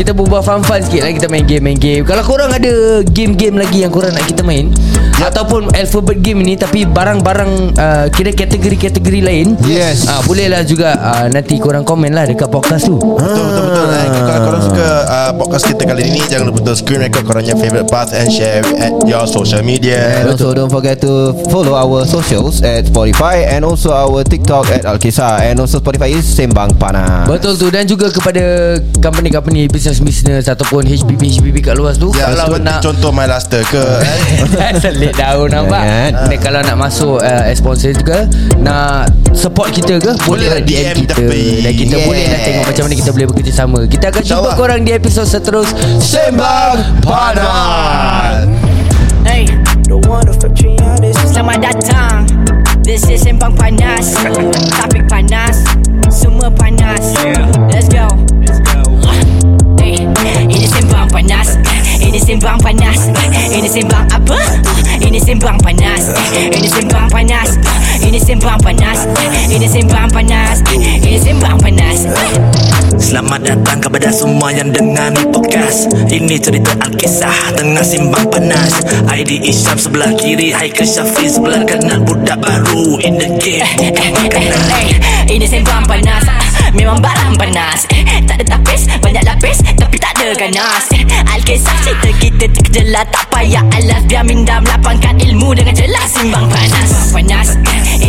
[SPEAKER 3] Kita berbual fun-fun sikit lah Kita main game-main game Kalau korang ada game-game lagi yang korang nak kita main Ataupun alphabet game ni Tapi barang-barang uh, Kira kategori-kategori lain
[SPEAKER 2] Yes.
[SPEAKER 3] uh, Boleh lah juga uh, Nanti korang komen lah Dekat podcast tu
[SPEAKER 4] Betul betul betul eh. Kalau korang suka uh, podcast kita kali ini Jangan lupa untuk screen record korangnya favourite parts And share at your social
[SPEAKER 2] And
[SPEAKER 4] media
[SPEAKER 2] also don't forget to follow our socials at Spotify and also our TikTok at Alkisah and also Spotify is Sembang Panas.
[SPEAKER 3] Betul tu Dan juga kepada Company-company Business-business Ataupun HBB-HBB kat luar tu
[SPEAKER 4] Ya,
[SPEAKER 3] Kalau
[SPEAKER 4] seperti
[SPEAKER 3] nak
[SPEAKER 4] contoh My Luster ke eh?
[SPEAKER 3] Selit daun nampak
[SPEAKER 2] Kan?
[SPEAKER 3] Dan Kalau nak masuk uh, as Sponsor juga Nak support kita ke Boleh lah DM,
[SPEAKER 4] DM
[SPEAKER 3] kita
[SPEAKER 4] tapi.
[SPEAKER 3] Dan kita
[SPEAKER 2] Yes.
[SPEAKER 3] boleh lah tengok Macam mana kita boleh bekerjasama Kita akan jumpa
[SPEAKER 4] InsyaAllah.
[SPEAKER 3] korang Di episod seterus Sembang
[SPEAKER 4] Panas
[SPEAKER 1] Hey, Selamat datang This is Sembang Panas Topik panas Semua panas Let's go Hey, Ini Sembang Panas Ini Sembang Panas Ini Sembang apa? Ini Sembang Panas Ini Sembang Panas Ini Sembang Panas Ini Sembang Panas Ini Sembang Panas
[SPEAKER 5] Selamat datang kepada semua yang dengar ni podcast Ini cerita Alkisah tengah simbang panas ID Isyam sebelah kiri Haikal Syafiq sebelah kanan Budak baru in the game
[SPEAKER 1] Eh, eh, eh, eh, Ini sembang panas Ah, Memang barang panas Eh, Tak ada tapis Banyak lapis Tapi tak ada ganas Eh, Alkisah cerita kita terkejelah Tak payah alas Biar minda melapangkan ilmu Dengan jelas Simbang panas Sembang panas Eh,